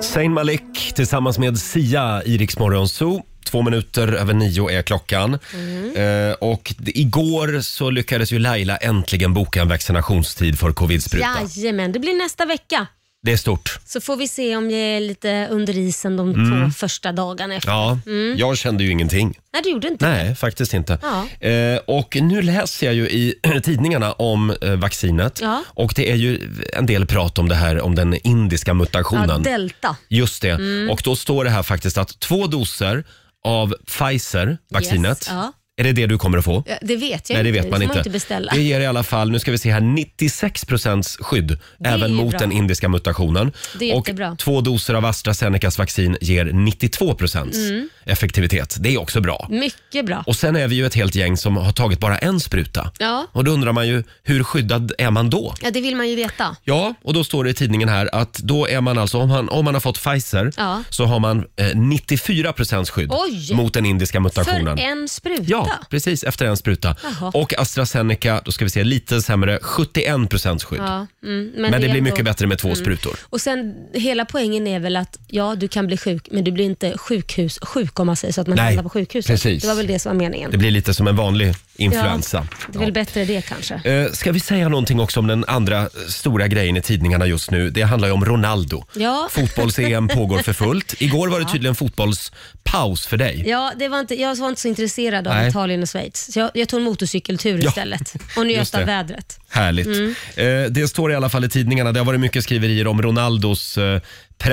Zayn Malik tillsammans med Sia i Rix Morgon Zoo. Två minuter över nio är klockan. Mm. Eh, och d- igår så lyckades ju Laila äntligen boka en vaccinationstid för covidspruta. Jajamän, det blir nästa vecka. Det är stort. Så får vi se om jag är lite under isen de Mm. två första dagarna efter. Ja, Mm. jag kände ju ingenting. Nej, du gjorde inte Nej, faktiskt inte. Ja. Eh, och nu läser jag ju i [clears throat] tidningarna om eh, vaccinet. Ja. Och det är ju en del prat om det här, om den indiska Ja, mutationen. delta. Just det. Mm. Och då står det här faktiskt att två doser av Pfizer-vaccinet, Yes, ja. är det det du kommer att få? Ja, Det vet jag Nej, det inte. vet man får inte. inte beställa. Det ger i alla fall, nu ska vi se här, 96 skydd Det är även mot bra. den indiska mutationen. Det är och jättebra. två doser av AstraZenecas vaccin ger 92 Mm. effektivitet. Det är också bra. Mycket bra. Och sen är vi ju ett helt gäng som har tagit bara en spruta. Ja. Och då undrar man ju, hur skyddad är man då? ja, det vill man ju veta. Ja, och då står det i tidningen här att då är man alltså, om man, om man har fått Pfizer, Ja. så har man eh, 94 skydd Oj! mot den indiska mutationen. För en spruta? Ja, precis. Efter en spruta. Jaha. Och AstraZeneca, då ska vi se, lite sämre, 71 skydd. Ja, mm, men, det, är blir ändå- mycket bättre med två Mm. sprutor. Och sen, hela poängen är väl att ja, du kan bli sjuk, men du blir inte sjukhussjuk om man säger så, att man Nej, hamnar på sjukhuset. precis. Det var väl det som var meningen. Det blir lite som en vanlig influensa. Ja, det är väl bättre det kanske. Eh, Ska vi säga någonting också om den andra eh, stora grejen i tidningarna just nu? Det handlar ju om Ronaldo. Ja. Fotbolls-EM pågår för fullt. Igår var det tydligen fotbollspaus för dig. Ja, det var inte, jag var inte så intresserad av Nej. Italien och Schweiz, så jag, jag tog en motorcykeltur Ja. istället och Just njöt det. av vädret. Härligt. Mm. Eh, Det står i alla fall i tidningarna, det har varit mycket skriverier om Ronaldos eh,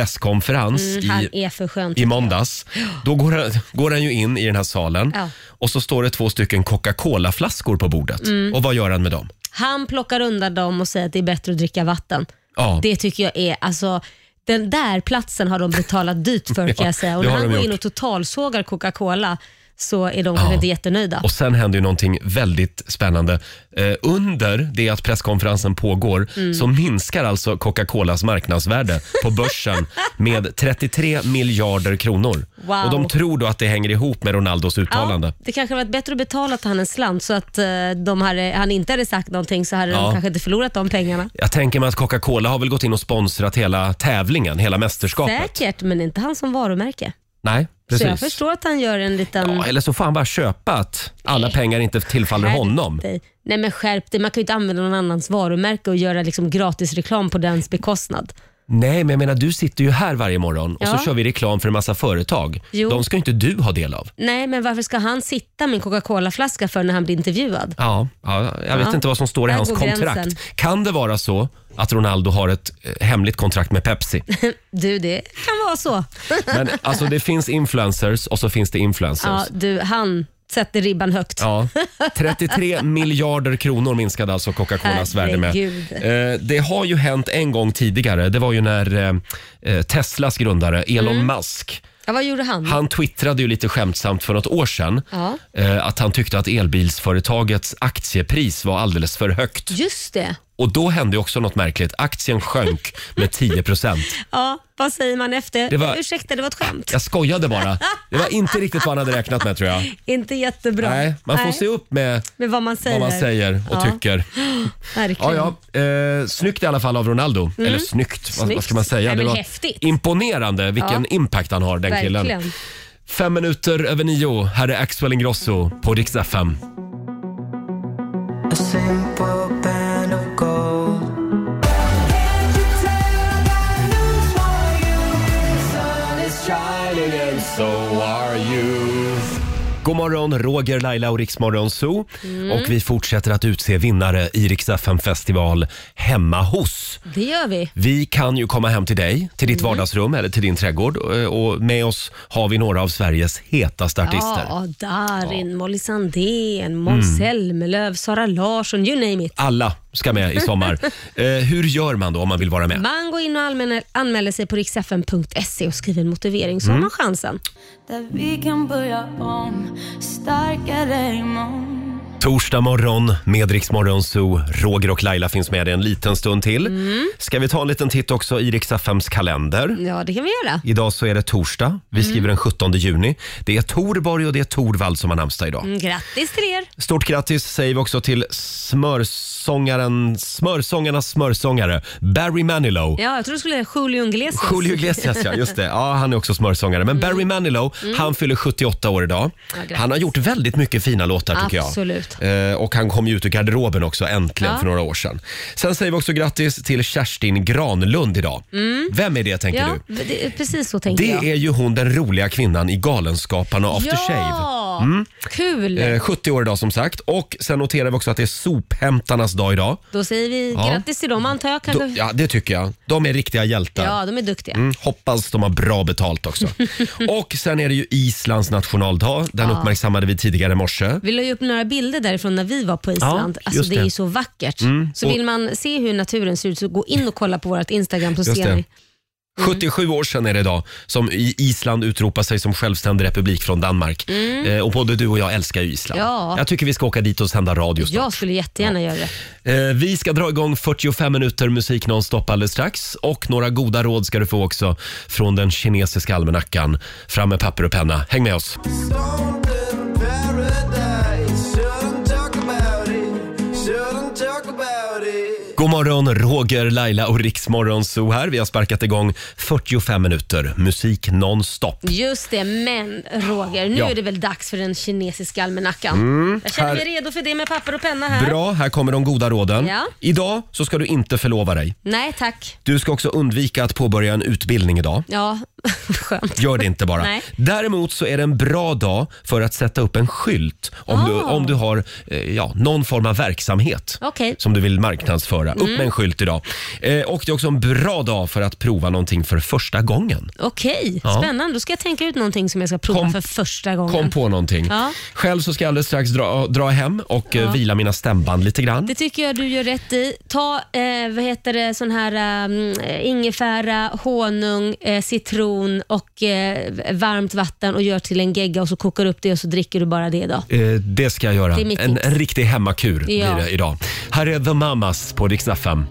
presskonferens Mm, han i, är för skön. i måndags. Då går han, går han ju in i den här salen Ja. och så står det två stycken Coca-Cola-flaskor på bordet. Mm. Och vad gör han med dem? Han plockar undan dem och säger att det är bättre att dricka vatten. Ja. Det tycker jag är, alltså den där platsen har de betalat dyrt [laughs] för kan Ja, jag säga. Och det när har han de går in gjort. och totalsågar Coca-Cola så är de kanske inte jättenöjda. Och sen händer ju någonting väldigt spännande. Eh, under det att presskonferensen pågår Mm. så minskar alltså Coca-Colas marknadsvärde på [laughs] börsen med 33 miljarder kronor. Wow. Och de tror då att det hänger ihop med Ronaldos uttalande. Det kanske hade varit bättre att betala till han en slant så att eh, de hade, han inte hade sagt någonting så hade Ja. de kanske inte förlorat de pengarna. Jag tänker mig att Coca-Cola har väl gått in och sponsrat hela tävlingen, hela mästerskapet. Säkert, men inte han som varumärke. Nej, precis. Så jag förstår Mm. att han gör en liten... Ja, eller så får han bara köpa att alla pengar inte tillfaller Skärp honom. dig. Nej men skärp dig, man kan ju inte använda någon annans varumärke och göra liksom gratis reklam på dens bekostnad. Nej, men jag menar du sitter ju här varje morgon och så Ja. kör vi reklam för en massa företag. Jo. De ska ju inte du ha del av. Nej, men varför ska han sitta med en Coca-Cola-flaska för när han blir intervjuad? Ja, ja jag vet Ja. inte vad som står i Där hans går kontrakt. gränsen. Kan det vara så att Ronaldo har ett eh, hemligt kontrakt med [laughs] Pepsi? Du, det kan vara så. Men alltså det finns influencers och så finns det influencers. ja, du, han sätter ribban högt. Ja. 33 miljarder kronor minskade alltså Coca-Colas värde med. Herregud. Eh, Det har ju hänt en gång tidigare. Det var ju när eh, eh, Teslas grundare Elon Mm. Musk Ja, vad gjorde han? han twittrade ju lite skämtsamt för något år sedan Ja, eh, att han tyckte att elbilsföretagets aktiepris var alldeles för högt. just det. Och då hände ju också något märkligt. Aktien sjönk med 10 procent. Ja, vad säger man efter? Det var- Ursäkta, det var ett skämt. Jag skojade bara. Det var inte riktigt vad han hade räknat med tror jag. Inte jättebra. Nej, man får se upp med Med vad man säger. vad man säger och Ja. tycker. Verkligen. Ja, ja. Eh, snyggt i alla fall av Ronaldo. Mm. Eller snyggt, Vad, Snyggt. vad ska man säga? Nej, men var häftigt. imponerande vilken Ja. impact han har, den killen. Verkligen. Fem minuter över nio. Här är Axel Ingrosso på Rix FM. A simple band of gold. God morgon, Roger, Laila och Riksmorgon Zoo. Mm. Och vi fortsätter att utse vinnare i Rix FM festival hemma hos. Det gör vi. Vi kan ju komma hem till dig, till Mm. ditt vardagsrum eller till din trädgård. eh, Och med oss har vi några av Sveriges hetaste artister. Mm. Ja, Darin, Molly Sandén, Måns Zelmerlöw, Sara Larsson, you name it. Alla ska med i sommar. [laughs] eh, hur gör man då om man vill vara med? Man går in och anmäler, anmäler sig på riksfn.se och skriver en motivering så Mm. har man chansen. Där vi kan börja om, starkare imorgon Torsdag morgon med Rix Morgon Zoo. Roger och Laila finns med dig en liten stund till. Mm. Ska vi ta en liten titt också i Rix FMs kalender? Ja, det kan vi göra. Idag så är det torsdag. Vi Mm. skriver den 17 juni. Det är Torborg och det är Torvald som har namnsdag idag. Mm, grattis till er. Stort grattis säger vi också till smörsångaren, smörsångarnas smörsångare, Barry Manilow. Ja, jag tror du skulle säga Julio Iglesias. Julio Iglesias, ja. Just det. Ja, han är också smörsångare. Men Barry Manilow, Mm. han fyller 78 år idag. grattis. han har gjort väldigt mycket fina låtar tycker Absolut. jag. Eh, och han kom ju ut ur garderoben också, äntligen, Ja. för några år sedan. Sen säger vi också grattis till Kerstin Granlund idag. Mm. Vem är det tänker ja, du? Det, precis så tänker Det jag. är ju hon den roliga kvinnan i Galenskaparna och After Ja, Shave. Mm. kul. Eh, 70 år idag som sagt. Och sen noterar vi också att det är sophämtarnas dag idag. Då säger vi Ja. grattis till dem antar jag. Kanske. Då- Ja, det tycker jag. De är riktiga hjältar. ja, de är duktiga. Mm, hoppas de har bra betalt [laughs] också. och sen är det ju Islands nationaldag. Den Ja. Mm. uppmärksammade vi tidigare i morse. Vi la ju upp några bilder därifrån när vi var på Island. Ja, alltså, just det är det. ju så vackert. Mm, Så och- vill man se hur naturen ser ut så gå in och kolla på vårt Instagram så Just ser det. ni. 77 år sedan är det idag som i- Island utropar sig som självständig republik från Danmark. Mm. Eh, och både du och jag älskar ju Island. Ja. Jag tycker vi ska åka dit och sända radio snart. Jag skulle jättegärna göra det. Eh, Vi ska dra igång 45 minuter musik nonstop alldeles strax. Och några goda råd ska du få också från den kinesiska almanackan. Fram med papper och penna. Häng med oss. God morgon, Roger, Laila och Riksmorgon Zoo här. Vi har sparkat igång 45 minuter musik nonstop. Just det, men Roger, nu Ja. är det väl dags för den kinesiska almanackan. Mm, jag känner här- mig redo för det med papper och penna här. Bra, här kommer de goda råden. Ja. Idag så ska du inte förlova dig. Nej tack. Du ska också undvika att påbörja en utbildning idag. Ja, [laughs] Gör det inte bara. Nej. Däremot så är det en bra dag för att sätta upp en skylt om, du, Ah. om du har eh, ja, någon form av verksamhet okej. som du vill marknadsföra. Upp Mm. med en skylt idag. Eh, och det är också en bra dag för att prova någonting för första gången. Okej, Ja. spännande. Då ska jag tänka ut någonting som jag ska prova för första gången. Kom på någonting. Ja. Själv så ska jag alldeles strax dra, dra hem och eh, Ja. vila mina stämband lite grann. Det tycker jag du gör rätt i. Ta eh, vad heter det, sån här eh, ingefära, honung, eh, citron och eh, varmt vatten och gör till en gegga och så kokar du upp det och så dricker du bara det idag. Eh, det ska jag göra. Det är mitt En, tips. en riktig hemmakur Ja. blir det idag. Här är The Mamas på Dix FM.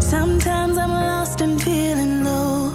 Sometimes I'm lost and feeling low.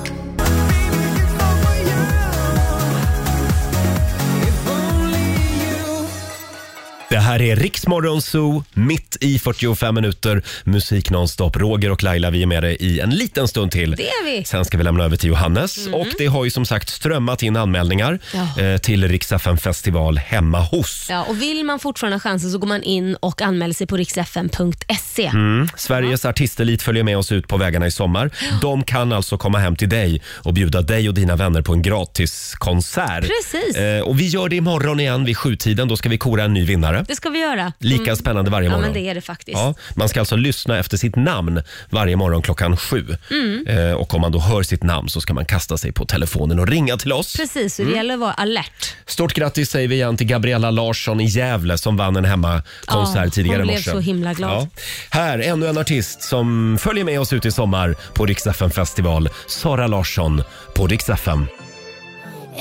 Det här är Riksmorgon Zoo, mitt i 45 minuter. Musik nonstop. Roger och Laila, vi är med dig i en liten stund till. Det är vi. Sen ska vi lämna över till Johannes. Mm. Och det har ju som sagt strömmat in anmälningar Ja. eh, till Riksdagen festival hemma hos. Ja, och vill man fortfarande ha chansen så går man in och anmäler sig på riksfn.se. Mm. Sveriges artistelit följer med oss ut på vägarna i sommar. De kan alltså komma hem till dig och bjuda dig och dina vänner på en gratiskonsert. Precis. Eh, och vi gör det imorgon igen vid sjutiden. Då ska vi kora en ny vinnare. Det ska vi göra. Lika Mm. spännande varje morgon. Ja, men det är det faktiskt. Ja, man ska alltså lyssna efter sitt namn varje morgon klockan sju. Mm. Eh, och om man då hör sitt namn så ska man kasta sig på telefonen och ringa till oss. Precis, så det Mm. gäller att vara alert. Stort grattis säger vi igen till Gabriella Larsson i Gävle som vann en hemmakonsert Ja, tidigare hon i blev morse. så himla glad. Här, ännu en artist som följer med oss ut i sommar på Rix FM festival. Sara Larsson på Rix FM.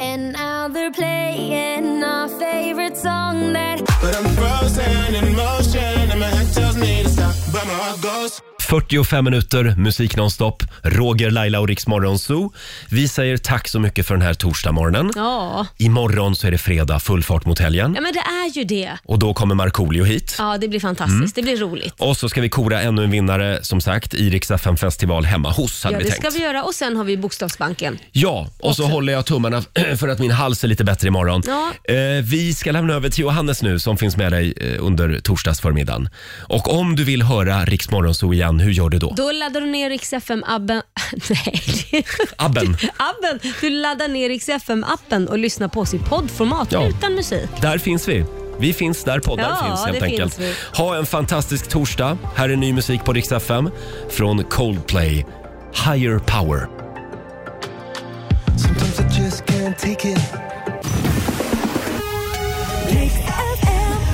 And now they're playing our favorite song that... But I'm frozen in motion and my head tells me to stop, but my heart goes 45 minuter musik nonstop. Roger, Laila och Rix Morgon Zoo. Vi säger tack så mycket för den här torsdagsmorgonen. Ja. Imorgon så är det fredag, full fart mot helgen. ja, men det är ju det. Och då kommer Markoolio hit. Ja, det blir fantastiskt. Mm. Det blir roligt. Och så ska vi kora ännu en vinnare som sagt i Rix FM festival hemma hos hade Ja, vi det tänkt. ska vi göra och sen har vi Bokstavsbanken. Ja, och så håller jag tummarna [clears throat] för att min hals är lite bättre imorgon. Ja. Eh, vi ska lämna över till Johannes nu som finns med dig eh, under torsdagsförmiddagen. Och om du vill höra Rix Morgonzoo igen, hur gör du då? Då laddar du ner Rix FM-appen. [laughs] Nej, Abben. [laughs] appen. Du laddar ner Rix FM-appen och lyssnar på oss i poddformat Ja. utan musik. Där finns vi. Vi finns där poddar Ja, finns helt det enkelt. finns ha en fantastisk torsdag. Här är ny musik på Rix FM från Coldplay, Higher Power. Sometimes I just can't take it.